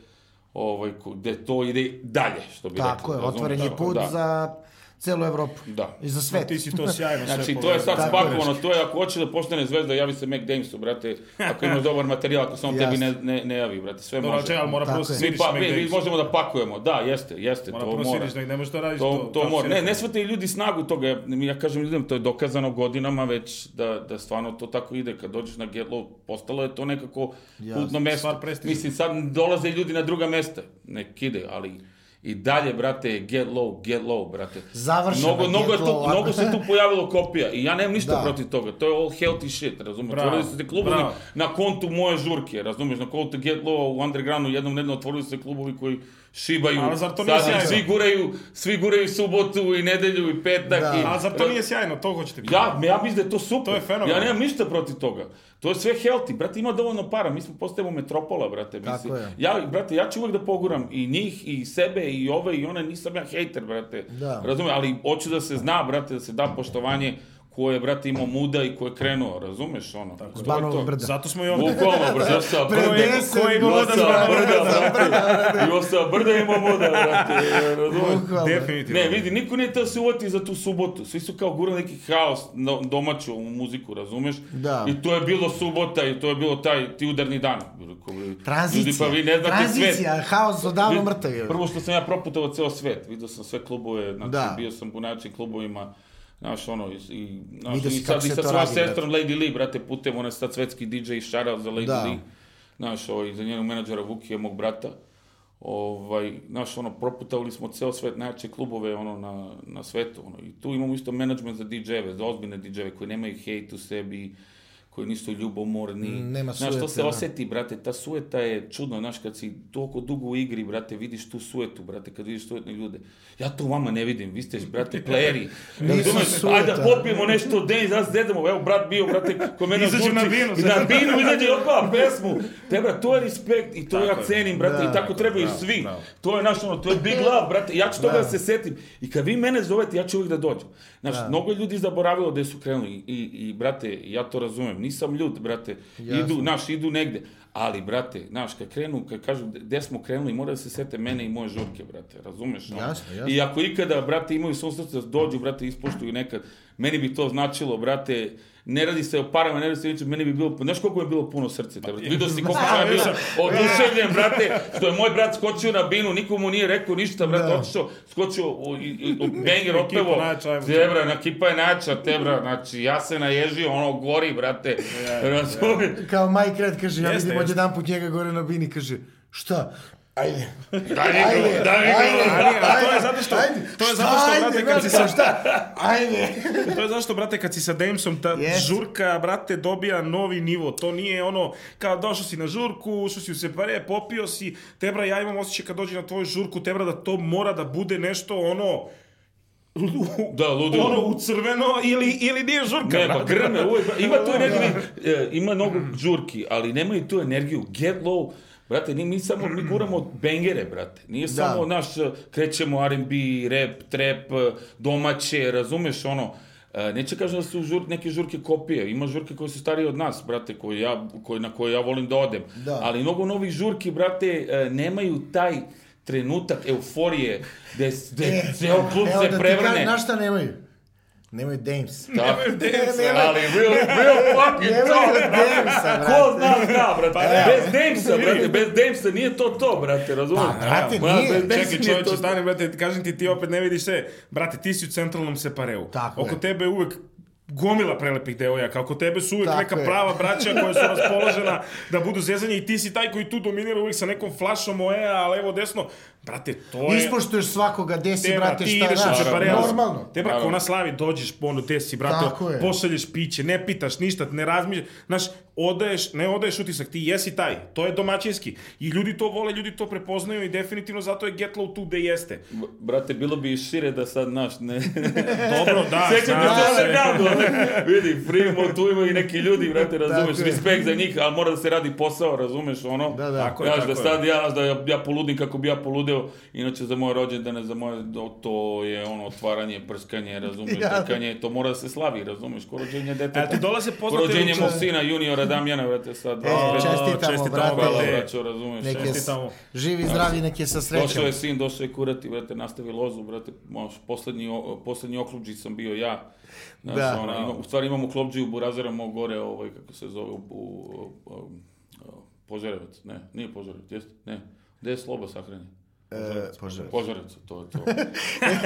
Speaker 3: ovaj, ko- gde to ide dalje, što bi rekli.
Speaker 1: Tako je,
Speaker 3: razumeš?
Speaker 1: otvoren je
Speaker 3: Tako,
Speaker 1: put
Speaker 3: da.
Speaker 1: za celu Evropu.
Speaker 3: Da.
Speaker 1: I za
Speaker 2: Pa
Speaker 1: svet.
Speaker 2: Ti si to sjajno sve
Speaker 3: Znači, to
Speaker 2: povedao.
Speaker 3: je sad
Speaker 1: Tako je.
Speaker 3: spakovano, to je ako hoće da postane zvezda, javi se Mac Damesu, brate, ako imaš dobar materijal, ako se on tebi ne, ne, ne javi, brate, sve
Speaker 2: Dobro,
Speaker 3: može.
Speaker 2: čekaj, ali mora
Speaker 1: Tako
Speaker 2: prvo
Speaker 1: je.
Speaker 3: Svi
Speaker 2: siriš
Speaker 3: pa, mi, mi
Speaker 2: negde.
Speaker 3: možemo da pakujemo, da, jeste, jeste,
Speaker 2: Mora
Speaker 3: to
Speaker 2: prvo
Speaker 3: mora.
Speaker 2: siriš negde, ne možeš to radiš.
Speaker 3: To, to
Speaker 2: tako
Speaker 3: mora.
Speaker 2: si
Speaker 3: Ne,
Speaker 2: rekao.
Speaker 3: ne shvate ljudi snagu toga, ja, ja kažem ljudima, to je dokazano godinama već da, da stvarno to tako ide, kad dođeš na Getlo, postalo je to nekako
Speaker 1: Jasno,
Speaker 3: putno mesto.
Speaker 2: stvar prestiža.
Speaker 3: Mislim, sad dolaze ljudi na druga mesta, nek ide, ali I dalje, brate, je get low, get low, brate.
Speaker 1: Završeno
Speaker 3: mnogo, mnogo,
Speaker 1: get
Speaker 3: je tu,
Speaker 1: low, a-
Speaker 3: mnogo se tu pojavilo kopija i ja nemam ništa
Speaker 1: Da.
Speaker 3: protiv toga. To je all healthy shit, razumiješ?
Speaker 2: Bravo,
Speaker 3: Otvorili su se klubovi
Speaker 2: bravo.
Speaker 3: na kontu moje žurke, razumiješ? Na kontu get low u undergroundu jednom nedno otvorili su se klubovi koji šibaju.
Speaker 2: Ali zar to
Speaker 3: Sad
Speaker 2: nije sjajno?
Speaker 3: svi guraju, svi guraju subotu i nedelju i petak.
Speaker 1: Da.
Speaker 3: I,
Speaker 2: A zar to nije sjajno, to hoćete biti?
Speaker 3: Ja, ja mislim da je to super.
Speaker 2: To je fenomen.
Speaker 3: Ja nemam ništa protiv toga. To je sve healthy. Brate, ima dovoljno para. Mi smo postajemo metropola, brate. Mislim,
Speaker 1: Tako je.
Speaker 3: Ja, brate, ja ću uvek da poguram i njih, i sebe, i ove, i one. Nisam ja hejter, brate.
Speaker 1: Da.
Speaker 3: Razumem, ali hoću da se zna, brate, da se da poštovanje ko je, brate, imao muda i ko je krenuo. Razumeš, ono? Tako, to je
Speaker 1: Banovog
Speaker 3: to.
Speaker 1: brda.
Speaker 2: Zato smo i ovdje.
Speaker 3: Bukvalno, brzo sa
Speaker 1: Pre
Speaker 3: brda.
Speaker 1: deset
Speaker 2: Koji
Speaker 3: I
Speaker 2: god
Speaker 1: godina.
Speaker 2: da
Speaker 3: osa
Speaker 2: zbrane.
Speaker 3: brda, brate. I osa brda ima muda, brate. Razumeš?
Speaker 1: Bukvalno.
Speaker 2: Definitivno.
Speaker 3: Ne, vidi, niko nije teo se uvati za tu subotu. Svi su kao gurali neki haos no- domaću u muziku, razumeš?
Speaker 1: Da.
Speaker 3: I to je bilo subota i to je bilo taj, ti udarni dan. Rekao, ljudi,
Speaker 1: Tranzicija.
Speaker 3: pa vi ne znate svet.
Speaker 1: Tranzicija, haos odavno
Speaker 3: Vi-
Speaker 1: mrtav je.
Speaker 3: Prvo što sam ja proputovao ceo svet. Vidio sam sve klubove, znači
Speaker 1: Da. bio
Speaker 3: bio sam u najjačim klubovima. Znaš, ono, i- i, znaš,
Speaker 1: Vidio
Speaker 3: i
Speaker 1: si
Speaker 3: sad,
Speaker 1: kako
Speaker 3: i
Speaker 1: se
Speaker 3: sad
Speaker 1: to
Speaker 3: svoja
Speaker 1: radi, brate.
Speaker 3: sestrom Lady Lee, brate, putem, ona je sad svetski DJ i shoutout za Lady
Speaker 1: Da.
Speaker 3: Lee. Znaš, ovaj, za njenog menadžera Vukija, mog brata. Ovaj, znaš, ono, proputavali smo ceo svet, najjače klubove, ono, na, na svetu, ono. I tu imamo isto menadžment za DJ-eve, za ozbiljne DJ-eve koji nemaju hejt u sebi, koji nisu ljubomorni.
Speaker 1: Nema
Speaker 3: Znaš, to
Speaker 1: sujete,
Speaker 3: se
Speaker 1: da.
Speaker 3: oseti, brate, ta sueta je čudno, znaš, kad si toliko dugo u igri, brate, vidiš tu suetu, brate, kad vidiš suetne ljude. Ja to u vama ne vidim, vi ste, brate, playeri.
Speaker 1: Nisu
Speaker 3: Razumeš?
Speaker 1: sueta.
Speaker 3: Ajde, da popijemo nešto den i zaraz dedemo. Evo, brat bio, brate, ko mene
Speaker 2: Izađu
Speaker 3: žurci.
Speaker 2: na binu, sad.
Speaker 3: Na binu izađe, opa, pesmu. Te, brate, to je respekt i to
Speaker 2: Tako
Speaker 3: ja
Speaker 2: je.
Speaker 3: cenim, brate,
Speaker 1: Da.
Speaker 3: i tako trebaju
Speaker 2: Bravo,
Speaker 3: svi.
Speaker 2: bravo.
Speaker 3: To je naš, ono, to je big love, brate, ja ću toga
Speaker 1: Da.
Speaker 3: da se setim. I kad vi mene zovete, ja ću uvijek da dođem. Znaš, mnogo je ljudi zaboravilo gde su krenuli. I, i, i, brate, ja to razumem, nisam ljut, brate, idu, znaš, idu negde. Ali, brate, znaš, kad krenu, kad kažu gde smo krenuli, moraju da se sete mene i moje žurke, brate, razumeš? ono?
Speaker 1: Jasno, jasno.
Speaker 3: I ako ikada, brate, imaju susrce, dođu, brate, ispoštuju nekad, meni bi to značilo, brate, ne radi se o parama, ne radi se o ničem, meni bi bilo, znaš koliko je bilo puno srce, te, brate, vidio si koliko sam
Speaker 1: Pa,
Speaker 3: ja bio oduševljen, brate, što je moj brat skočio na binu, niko mu nije rekao ništa, brate,
Speaker 1: Da.
Speaker 3: otišao, skočio, o, i, i, o, banger
Speaker 2: Ekipa
Speaker 3: otpevo,
Speaker 2: najjača, ajmo.
Speaker 3: tebra, na kipa je najjača, tebra, znači, ja se naježio, ono, gori, brate, razumiješ?
Speaker 1: Kao Mike Red kaže, ja
Speaker 2: Jeste,
Speaker 1: vidim
Speaker 2: jeste.
Speaker 1: odjedan put njega gore na bini, kaže, šta? Ajde.
Speaker 3: Daj mi go, daj mi go.
Speaker 2: Ali, a to je zato što- to je zato što, brate, kad si sa-
Speaker 1: šta? Ajde.
Speaker 2: To je zašto, brate, kad si sa Damesom, ta
Speaker 1: Jest.
Speaker 2: žurka, brate, dobija novi nivo. To nije ono, kao došao si na žurku, ušao si u separe, popio si, tebra, ja imam osjećaj kad dođe na tvoju žurku, tebra, da to mora da bude nešto ono, u-
Speaker 3: Da, ludilo.
Speaker 2: Ono, u crveno ili, ili nije žurka,
Speaker 3: Ne, pa
Speaker 2: brate.
Speaker 3: grme, uvek, ima tu energiju, e, ima mnogo žurki, ali nemaju tu energiju, get low, Brate, ni, mi samo, mi guramo bengere, brate. Nije samo, naš, e, krećemo R&B, rap, trap, e, domaće, razumeš, ono, e, Neće kažem da su žur, neke žurke kopije, ima žurke koje su starije od nas, brate, koje ja, koje, na koje ja volim da odem.
Speaker 1: Da.
Speaker 3: Ali mnogo novih žurki, brate, e, nemaju taj trenutak euforije, gde, gde ceo klub
Speaker 1: evo da
Speaker 3: se
Speaker 1: E, ti kažem,
Speaker 3: prevrne.
Speaker 1: Znaš šta nemaju? Nemaju Dames.
Speaker 3: Da.
Speaker 1: Nemaju-
Speaker 3: Ali real, real fucking
Speaker 1: Nemaju
Speaker 3: talk.
Speaker 1: Damesa, brate. Pa
Speaker 3: Ko zna zna, brate.
Speaker 1: da.
Speaker 3: Bez Damesa, brate. Bez Damesa nije to to, brate. Razumiješ?
Speaker 1: Pa, brate,
Speaker 3: Ma,
Speaker 1: nije.
Speaker 3: bez Damesa
Speaker 2: Čekaj,
Speaker 3: nije to
Speaker 2: čovječe,
Speaker 3: to.
Speaker 2: stani, brate, kažem ti, ti opet ne vidiš sve. Brate, ti si u centralnom separeu.
Speaker 1: Tako
Speaker 2: Oko
Speaker 1: je.
Speaker 2: tebe je uvek gomila prelepih devojaka, oko tebe su uvek
Speaker 1: Tako
Speaker 2: neka
Speaker 1: je.
Speaker 2: prava braća koja su raspoložena da budu zezanje i ti si taj koji tu dominira uvek sa nekom flašom oea, ali evo desno. Brate, to je...
Speaker 1: Ispoštuješ svakoga, gde si,
Speaker 2: Te,
Speaker 1: brate,
Speaker 2: ti
Speaker 1: šta
Speaker 2: ideš u
Speaker 1: radiš?
Speaker 2: džabarelu.
Speaker 1: Normalno.
Speaker 2: Te brate, ko na slavi dođeš, ono, te si, brate,
Speaker 1: Tako je.
Speaker 2: pošalješ piće, ne pitaš ništa, ne razmišljaš, znaš, odaješ, ne odaješ utisak, ti jesi taj, to je domaćinski. I ljudi to vole, ljudi to prepoznaju i definitivno zato je Get Low tu gde jeste.
Speaker 3: B- Brate, bilo bi i šire da sad, znaš, ne...
Speaker 2: Dobro, da,
Speaker 3: Sećam
Speaker 2: znam
Speaker 3: se
Speaker 2: se.
Speaker 3: undergroundu, ali, vidi, frimo, tu ima i neki ljudi, brate, razumeš,
Speaker 1: Tako je.
Speaker 3: respekt za njih, ali mora da se radi posao, razumeš, ono,
Speaker 1: Da, da.
Speaker 2: Tako je,
Speaker 3: Znaš,
Speaker 2: tako
Speaker 3: da
Speaker 2: je.
Speaker 3: sad ja, da ja, ja poludim kako bi ja poludeo, inače za moje rođendane, za moje, o, to je ono otvaranje, prskanje, razumeš,
Speaker 1: Ja.
Speaker 3: trkanje, to mora da se slavi, razumeš, ko rođenje deteta.
Speaker 2: E, ti dolaze
Speaker 3: Ko
Speaker 2: poznate
Speaker 3: rođenje
Speaker 2: ruče-
Speaker 3: mog sina, juniora Damjana, brate, sad, 25
Speaker 1: E,
Speaker 2: O,
Speaker 1: čestitamo,
Speaker 2: čestitamo,
Speaker 3: hvala,
Speaker 2: brate.
Speaker 1: brate.
Speaker 3: braćo, razumeš.
Speaker 1: Nek
Speaker 3: ono.
Speaker 1: je
Speaker 2: Čestitamo.
Speaker 1: živi, zdravi, nek je sa
Speaker 3: Došao
Speaker 1: srećom.
Speaker 3: je sin, došao je kurati, brate, nastavi lozu, brate, moš, poslednji, o- poslednji oklopđi sam bio ja. Znaš,
Speaker 1: Da.
Speaker 3: ono, ima- u stvari imam oklopđi u Burazera mog gore, ovaj, kako se zove, u, u, u- u- Požarevac, ne, nije Požarevac, jeste, ne. Gde je Sloba sahranjen?
Speaker 1: Požarecu. Požarecu.
Speaker 3: Požarecu, to je to.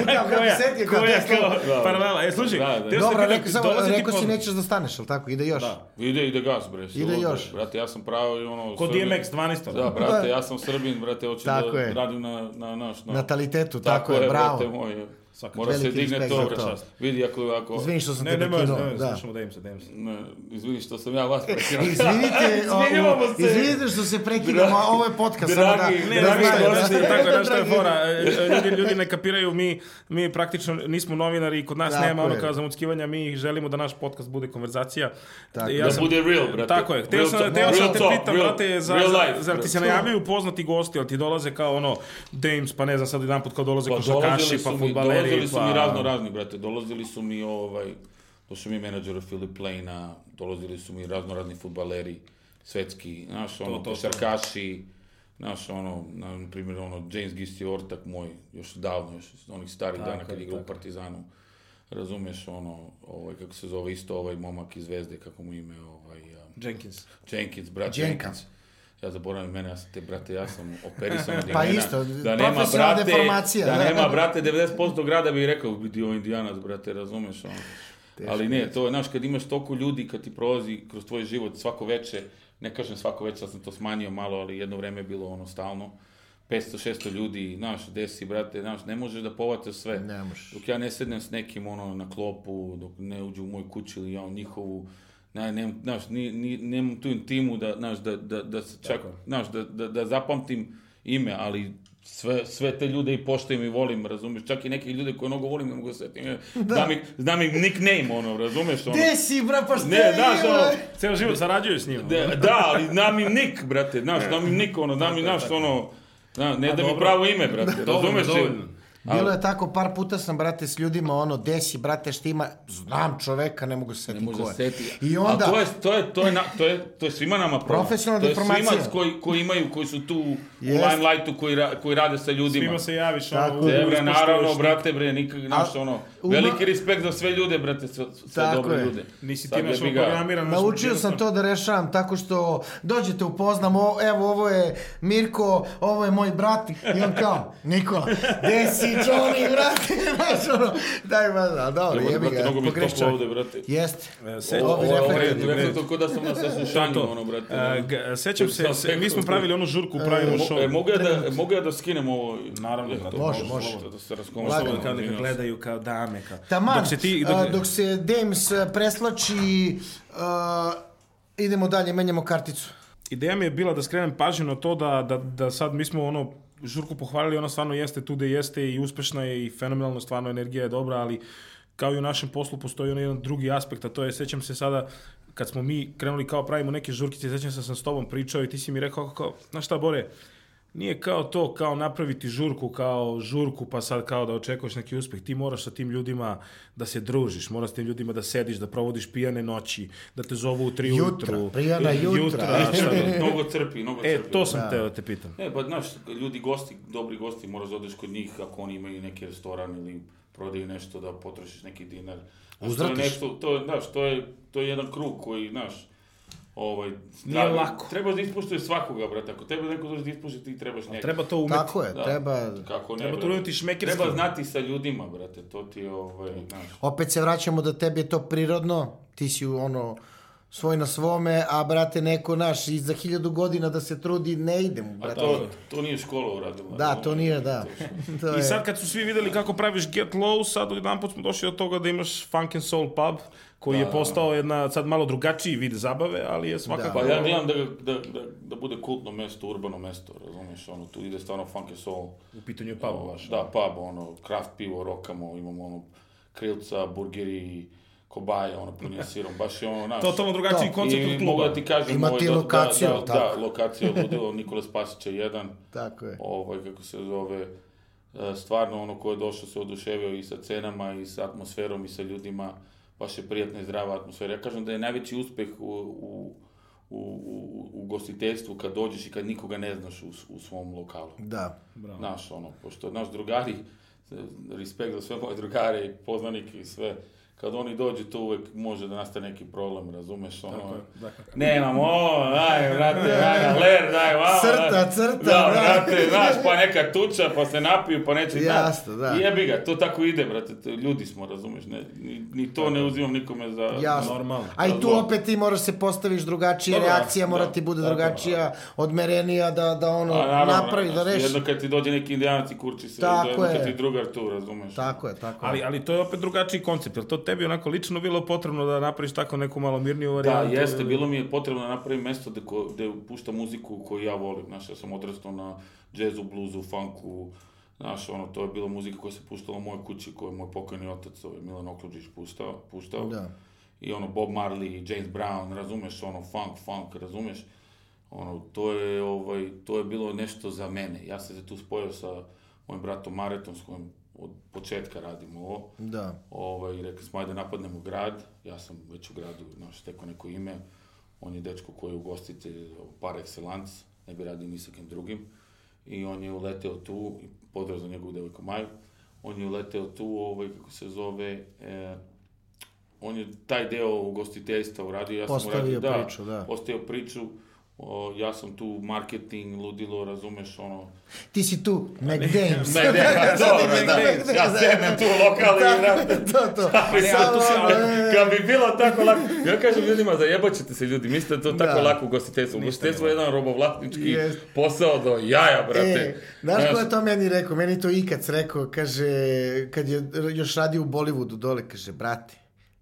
Speaker 1: Kao kad se sjetio, kao
Speaker 2: koja,
Speaker 1: tekst.
Speaker 2: kao,
Speaker 3: Da.
Speaker 2: paralela. E, slušaj,
Speaker 3: Da,
Speaker 2: teo
Speaker 3: da.
Speaker 2: sam te
Speaker 3: Dobro,
Speaker 1: Dobra,
Speaker 2: pitam,
Speaker 1: rekao, samo,
Speaker 2: dolazi ti
Speaker 1: rekao si
Speaker 2: poznat?
Speaker 1: nećeš da staneš, ali tako? Ide još.
Speaker 3: Da, ide, ide gas, bre.
Speaker 1: Ide
Speaker 3: bre.
Speaker 1: još.
Speaker 3: Brate, ja sam pravo i ono...
Speaker 2: Ko
Speaker 3: Srbin.
Speaker 2: DMX 12.
Speaker 3: Da, brate, ja sam Srbin, brate, hoću
Speaker 1: Tako
Speaker 3: da
Speaker 1: je.
Speaker 3: radim na, na naš... Na,
Speaker 1: Natalitetu, tako, je, bravo.
Speaker 3: brate moj.
Speaker 2: Svaka
Speaker 3: Mora se
Speaker 1: Veliki
Speaker 3: digne
Speaker 1: respekt
Speaker 3: to,
Speaker 1: za
Speaker 3: bre,
Speaker 1: to.
Speaker 3: čast. Vidi, ako... ako
Speaker 1: Izvini što sam
Speaker 2: Ne,
Speaker 1: te
Speaker 2: ne možeš, ne
Speaker 1: prekinuo.
Speaker 2: možeš,
Speaker 1: Da.
Speaker 2: slušamo Dame'sa, Dame'sa.
Speaker 3: Ne, izvini što sam ja vas prekirao.
Speaker 1: Izvinite, o,
Speaker 2: Izvinjavamo
Speaker 1: o,
Speaker 2: se.
Speaker 1: izvinite što se prekidamo, a ovo je podcast. samo
Speaker 3: Dragi,
Speaker 1: da,
Speaker 2: Ne,
Speaker 1: da
Speaker 2: dragi
Speaker 1: znaju,
Speaker 2: gosti,
Speaker 1: da.
Speaker 2: tako je, znaš što je fora. E, Ljudi, ljudi ne kapiraju, mi, mi praktično nismo novinari i kod nas
Speaker 1: Tako
Speaker 2: nema ono
Speaker 1: je.
Speaker 2: kao zamuckivanja, mi želimo da naš podcast bude konverzacija.
Speaker 1: Tako
Speaker 2: I
Speaker 1: je.
Speaker 2: ja
Speaker 3: Da
Speaker 2: sam-
Speaker 3: bude real, brate.
Speaker 2: Tako je, teo
Speaker 3: Real
Speaker 2: sam,
Speaker 3: talk,
Speaker 2: teo sam
Speaker 3: real
Speaker 2: te
Speaker 3: talk,
Speaker 2: pitam,
Speaker 3: real-
Speaker 2: brate, za,
Speaker 3: real
Speaker 2: za-
Speaker 3: life,
Speaker 2: zar ti se
Speaker 3: brate.
Speaker 2: najavljaju poznati gosti, ali ti dolaze kao ono Dames, pa ne znam sad jedan put kao dolaze
Speaker 3: Pa dolazili
Speaker 2: košarkaši,
Speaker 3: su
Speaker 2: pa
Speaker 3: mi,
Speaker 2: futbaleri,
Speaker 3: dolazili su
Speaker 2: pa...
Speaker 3: mi razno razni, brate. Dolazili su mi ovaj, to su mi menadžera Filip Lejna, dolazili su mi razno razni futbaleri, svetski, znaš, ono,
Speaker 2: to, to.
Speaker 3: košarkaši, znaš, ono, na primjer, ono, James Gisti ortak moj, još davno, još iz onih starih dana kad je igrao u Partizanu, razumeš, ono, ovaj, kako se zove isto ovaj momak iz Zvezde, kako mu ime, ovaj, a,
Speaker 2: Jenkins.
Speaker 3: Jenkins, brat
Speaker 1: Jenka.
Speaker 3: Jenkins. Ja zaboravim mene, ja sam te, brate, ja sam operisan od
Speaker 1: Pa
Speaker 3: imena.
Speaker 1: isto,
Speaker 3: da nema,
Speaker 1: profesionalna
Speaker 3: brate,
Speaker 1: deformacija,
Speaker 3: da
Speaker 1: da.
Speaker 3: nema, brate, 90% grada bi rekao, vidi ovo indijanac, brate, razumeš ono. Ali ne, to je, znaš, kad imaš toliko ljudi, kad ti prolazi kroz tvoj život svako veče, ne kažem svako veče, sad sam to smanjio malo, ali jedno vreme je bilo ono stalno, 500-600 ljudi, znaš, desi, brate, znaš, ne možeš da povataš sve.
Speaker 1: Ne možeš.
Speaker 3: Dok ja ne sednem s nekim ono na klopu, dok ne uđu u moju kuću ili ja u njihovu, ne, ne, znaš, ni, ni, nemam tu intimu da, znaš, da, da, da se čak, znaš, da, da, da zapamtim ime, ali sve, sve te ljude i poštujem i volim, razumeš, čak i neke ljude koje mnogo volim, ne mogu se setim, ime. znam, im, znam im nickname, ono, razumeš, ono,
Speaker 1: Gde si, bra, pa šta
Speaker 3: ne, znaš, ono,
Speaker 2: Ceo život sarađuju s njim.
Speaker 3: da, da, ali znam im nik, brate, znaš, znam im nik, ono, znam im, znaš, ono, zna- ne da mi
Speaker 2: dobro.
Speaker 3: pravo ime, brate, razumeš, ti?
Speaker 2: dovoljno.
Speaker 1: Bilo je tako, par puta sam, brate, s ljudima, ono, desi, brate, šta ima, znam čoveka, ne mogu se setiti
Speaker 3: može
Speaker 1: ko je.
Speaker 3: seti.
Speaker 1: I onda,
Speaker 3: A to je, to je, to je, na, to je, to je svima nama problem.
Speaker 1: Profesionalna
Speaker 3: to je
Speaker 1: deformacija.
Speaker 3: svima koji, koji imaju, koji su tu
Speaker 1: Jest.
Speaker 3: u limelightu, koji, ra, koji rade sa ljudima.
Speaker 2: Svima se javiš, ono,
Speaker 1: Tako
Speaker 2: u-
Speaker 1: je.
Speaker 3: E, bre,
Speaker 2: ispoštuješ
Speaker 3: naravno,
Speaker 2: nik-
Speaker 3: brate, bre, nikak, znaš, ono,
Speaker 1: u-
Speaker 3: veliki respekt za sve ljude, brate, sve, sve
Speaker 1: Tako
Speaker 3: dobre
Speaker 1: je.
Speaker 3: ljude.
Speaker 2: Nisi
Speaker 3: Sad
Speaker 2: ti
Speaker 3: da
Speaker 2: našao
Speaker 3: bi ga-
Speaker 2: programiran.
Speaker 1: Naučio sam to da rešavam tako što dođete upoznam, o, evo ovo je Mirko, ovo je moj brat i on kao, Nikola, gde si Johnny, brate, znaš ono, daj ma da, dobro,
Speaker 3: Jebote,
Speaker 1: jebi
Speaker 3: brate,
Speaker 1: ga,
Speaker 3: mnogo mi je
Speaker 1: pogrešio.
Speaker 3: toplo ovde, brate.
Speaker 1: Jeste,
Speaker 2: E, se-
Speaker 3: Ovo,
Speaker 1: ovi
Speaker 3: ovo, ovo,
Speaker 1: reflektori.
Speaker 2: bre.
Speaker 3: brate, to ko da sam na saslušanju, ono, brate.
Speaker 2: E, g- Sećam se, se, mi smo pravili onu žurku, pravimo
Speaker 3: Mo- e,
Speaker 2: show.
Speaker 3: mogu ja da, mogu ja da skinem ovo?
Speaker 2: Naravno,
Speaker 3: E,
Speaker 2: brate,
Speaker 3: to
Speaker 1: može, može.
Speaker 3: e, Da se raskomamo.
Speaker 1: Lagano.
Speaker 2: Kao neka gledaju kao dame. Kao.
Speaker 1: Taman,
Speaker 2: Dok se ti... Dok,
Speaker 1: a, dok se Dames e, preslači, a, idemo dalje, menjamo karticu.
Speaker 2: Ideja mi je bila da skrenem pažnju na to da, da, da sad mi smo ono žurku pohvalili, ona stvarno jeste tu gde jeste i uspešna je i fenomenalno stvarno energija je dobra, ali kao i u našem poslu postoji onaj jedan drugi aspekt, a to je, sećam se sada, kad smo mi krenuli kao pravimo neke žurkice, sećam se da sam s tobom pričao i ti si mi rekao kao, znaš šta Bore, Nije kao to, kao napraviti žurku, kao žurku, pa sad kao da očekuješ neki uspeh. Ti moraš sa tim ljudima da se družiš, moraš sa tim ljudima da sediš, da provodiš pijane noći, da te zovu u tri
Speaker 1: Jutra,
Speaker 2: ujutru.
Speaker 1: pijana jutra.
Speaker 2: E,
Speaker 1: E,
Speaker 2: jutra šta god.
Speaker 3: Mnogo crpi, mnogo
Speaker 2: E,
Speaker 3: crpi.
Speaker 2: to sam teo da te pitam.
Speaker 3: E, pa znaš, ljudi gosti, dobri gosti, moraš da odeš kod njih ako oni imaju neki restoran ili prodaju nešto da potrošiš neki dinar. Znaš,
Speaker 1: Uzvratiš.
Speaker 3: To je nešto, to je, znaš, to je, to je jedan krug koji, znaš, ovaj,
Speaker 2: Nije
Speaker 3: treba-
Speaker 2: lako.
Speaker 3: Trebaš da ispuštuješ svakoga, brate. Ako tebe neko dođe da ispušti, ti trebaš njega.
Speaker 2: Treba to umeti.
Speaker 1: Tako je, treba...
Speaker 3: Kako ne,
Speaker 2: Treba to
Speaker 3: brate.
Speaker 2: uraditi šmekerski.
Speaker 3: Treba znati sa ljudima, brate. To ti je, ovaj, znaš.
Speaker 1: Opet se vraćamo da tebi je to prirodno, ti si ono svoj na svome, a brate neko naš i za hiljadu godina da se trudi ne ide mu,
Speaker 3: A
Speaker 1: brate.
Speaker 3: to, to nije škola uradila.
Speaker 1: Da, to nije, da. To
Speaker 2: I
Speaker 1: je,
Speaker 2: sad kad su svi videli kako praviš Get Low, sad odjedan put smo došli do toga da imaš Funk and Soul Pub, koji je postao jedna, sad malo drugačiji vid zabave, ali je svakako...
Speaker 3: Pa ja gledam da, ga- da, da, da bude kultno mesto, urbano mesto, razumiješ, ono, tu ide stvarno funk and soul.
Speaker 2: U pitanju je pub vaš.
Speaker 3: Da, pub, ono, kraft pivo, rokamo, imamo ono, krilca, burgeri, kobaje, ono, punje sirom, baš je ono, naš.
Speaker 2: Totalno drugačiji koncept od
Speaker 3: I mogu
Speaker 2: kluba.
Speaker 3: da ti kažem,
Speaker 1: Ima
Speaker 3: ovaj,
Speaker 1: ti
Speaker 3: da- da-
Speaker 1: lokaciju,
Speaker 3: da, da,
Speaker 1: tako.
Speaker 3: lokacija ludilo, Nikola Spasića 1,
Speaker 1: tako je.
Speaker 3: ovaj, kako se zove, e, stvarno ono ko je došao se oduševio i sa cenama i sa atmosferom i sa ljudima, baš je prijatna i zdrava atmosfera. Ja kažem da je najveći uspeh u, u, u, u, u gostiteljstvu kad dođeš i kad nikoga ne znaš u, s- u svom lokalu.
Speaker 1: Da.
Speaker 2: Bravo.
Speaker 3: Naš ono, pošto naš drugari, e, respekt za sve moje drugare i poznanike i sve, kad oni dođu tu uvek može da nastane neki problem, razumeš, ono,
Speaker 2: Tako je, dakle.
Speaker 3: ne nam ovo, daj, vrate, daj nam ler, daj, vamo,
Speaker 1: Crta,
Speaker 3: daj.
Speaker 1: crta,
Speaker 3: da,
Speaker 1: da.
Speaker 3: vrate, znaš, pa neka tuča, pa se napiju, pa neće,
Speaker 1: Jasno, da.
Speaker 3: jebi ga, to tako ide, brate, to- ljudi smo, razumeš, ne, ni, ni to ne uzimam nikome za,
Speaker 1: Jasno.
Speaker 2: Normalno.
Speaker 1: A i tu
Speaker 3: Razumem.
Speaker 1: opet ti moraš se postaviš drugačije,
Speaker 3: Dobro,
Speaker 1: reakcija mora
Speaker 3: da,
Speaker 1: ti bude
Speaker 3: tako,
Speaker 1: drugačija, odmerenija da, da ono
Speaker 3: A, Pa, naravno,
Speaker 1: napravi, da
Speaker 3: znaš,
Speaker 1: reši.
Speaker 3: Jedno kad ti dođe neki indijanac i kurči se,
Speaker 1: Tako
Speaker 3: jedno kad
Speaker 1: je.
Speaker 3: ti drugar tu, razumeš.
Speaker 1: Tako je, tako je.
Speaker 2: Ali, ali to je opet drugačiji koncept, je to tebi onako lično bilo potrebno da napraviš tako neku malo mirniju
Speaker 3: Da,
Speaker 2: varijantu?
Speaker 3: jeste,
Speaker 2: ili-
Speaker 3: bilo mi je potrebno da napravim mesto gde, ko, gde pušta muziku koju ja volim, znaš, ja sam odrastao na džezu, bluzu, funku, znaš, ono, to je bila muzika koja se puštala u mojoj kući, koju je moj pokojni otac, ovaj, Milan Okluđić, puštao, puštao.
Speaker 1: Da.
Speaker 3: I ono, Bob Marley, James Brown, razumeš, ono, funk, funk, razumeš, ono, to je, ovaj, to je bilo nešto za mene, ja sam se tu spojio sa mojim bratom Maretom, s kojim od početka radimo ovo,
Speaker 1: Da.
Speaker 3: Ovaj, rekli smo, ajde napadnemo grad, ja sam već u gradu naš teko neko ime, on je dečko koji je ugostitelj par excellence, ne bi radio ni sa kim drugim, i on je uleteo tu, pozdrav za njegovu devojku Maju, on je uleteo tu, ovaj, kako se zove, e, on je taj deo ugostiteljstva uradio, ja sam
Speaker 1: Postavio
Speaker 3: uradio, da,
Speaker 1: priču, da.
Speaker 3: postavio priču, o, ja sam tu marketing, ludilo, razumeš, ono,
Speaker 1: Ti si tu, McDames.
Speaker 3: ne, ne, dobro, da,
Speaker 1: McDames,
Speaker 3: ja
Speaker 1: da.
Speaker 3: sednem tu lokal i
Speaker 1: Da,
Speaker 3: vrate,
Speaker 1: to, to.
Speaker 3: ali
Speaker 2: Ne,
Speaker 3: sad
Speaker 2: ali tu si-
Speaker 3: ono,
Speaker 1: ali-
Speaker 3: kad bi bilo tako lako, ja kažem ljudima, zajebaćete se ljudi, mislite da to tako
Speaker 1: Da.
Speaker 3: lako u gostiteljstvu. Gostiteljstvo je jedan robovlasnički
Speaker 1: Jest.
Speaker 3: posao do jaja, brate.
Speaker 1: E, znaš ko je to meni rekao? Meni je to ikac rekao, kaže, kad je još radio u Bollywoodu dole, kaže, brate,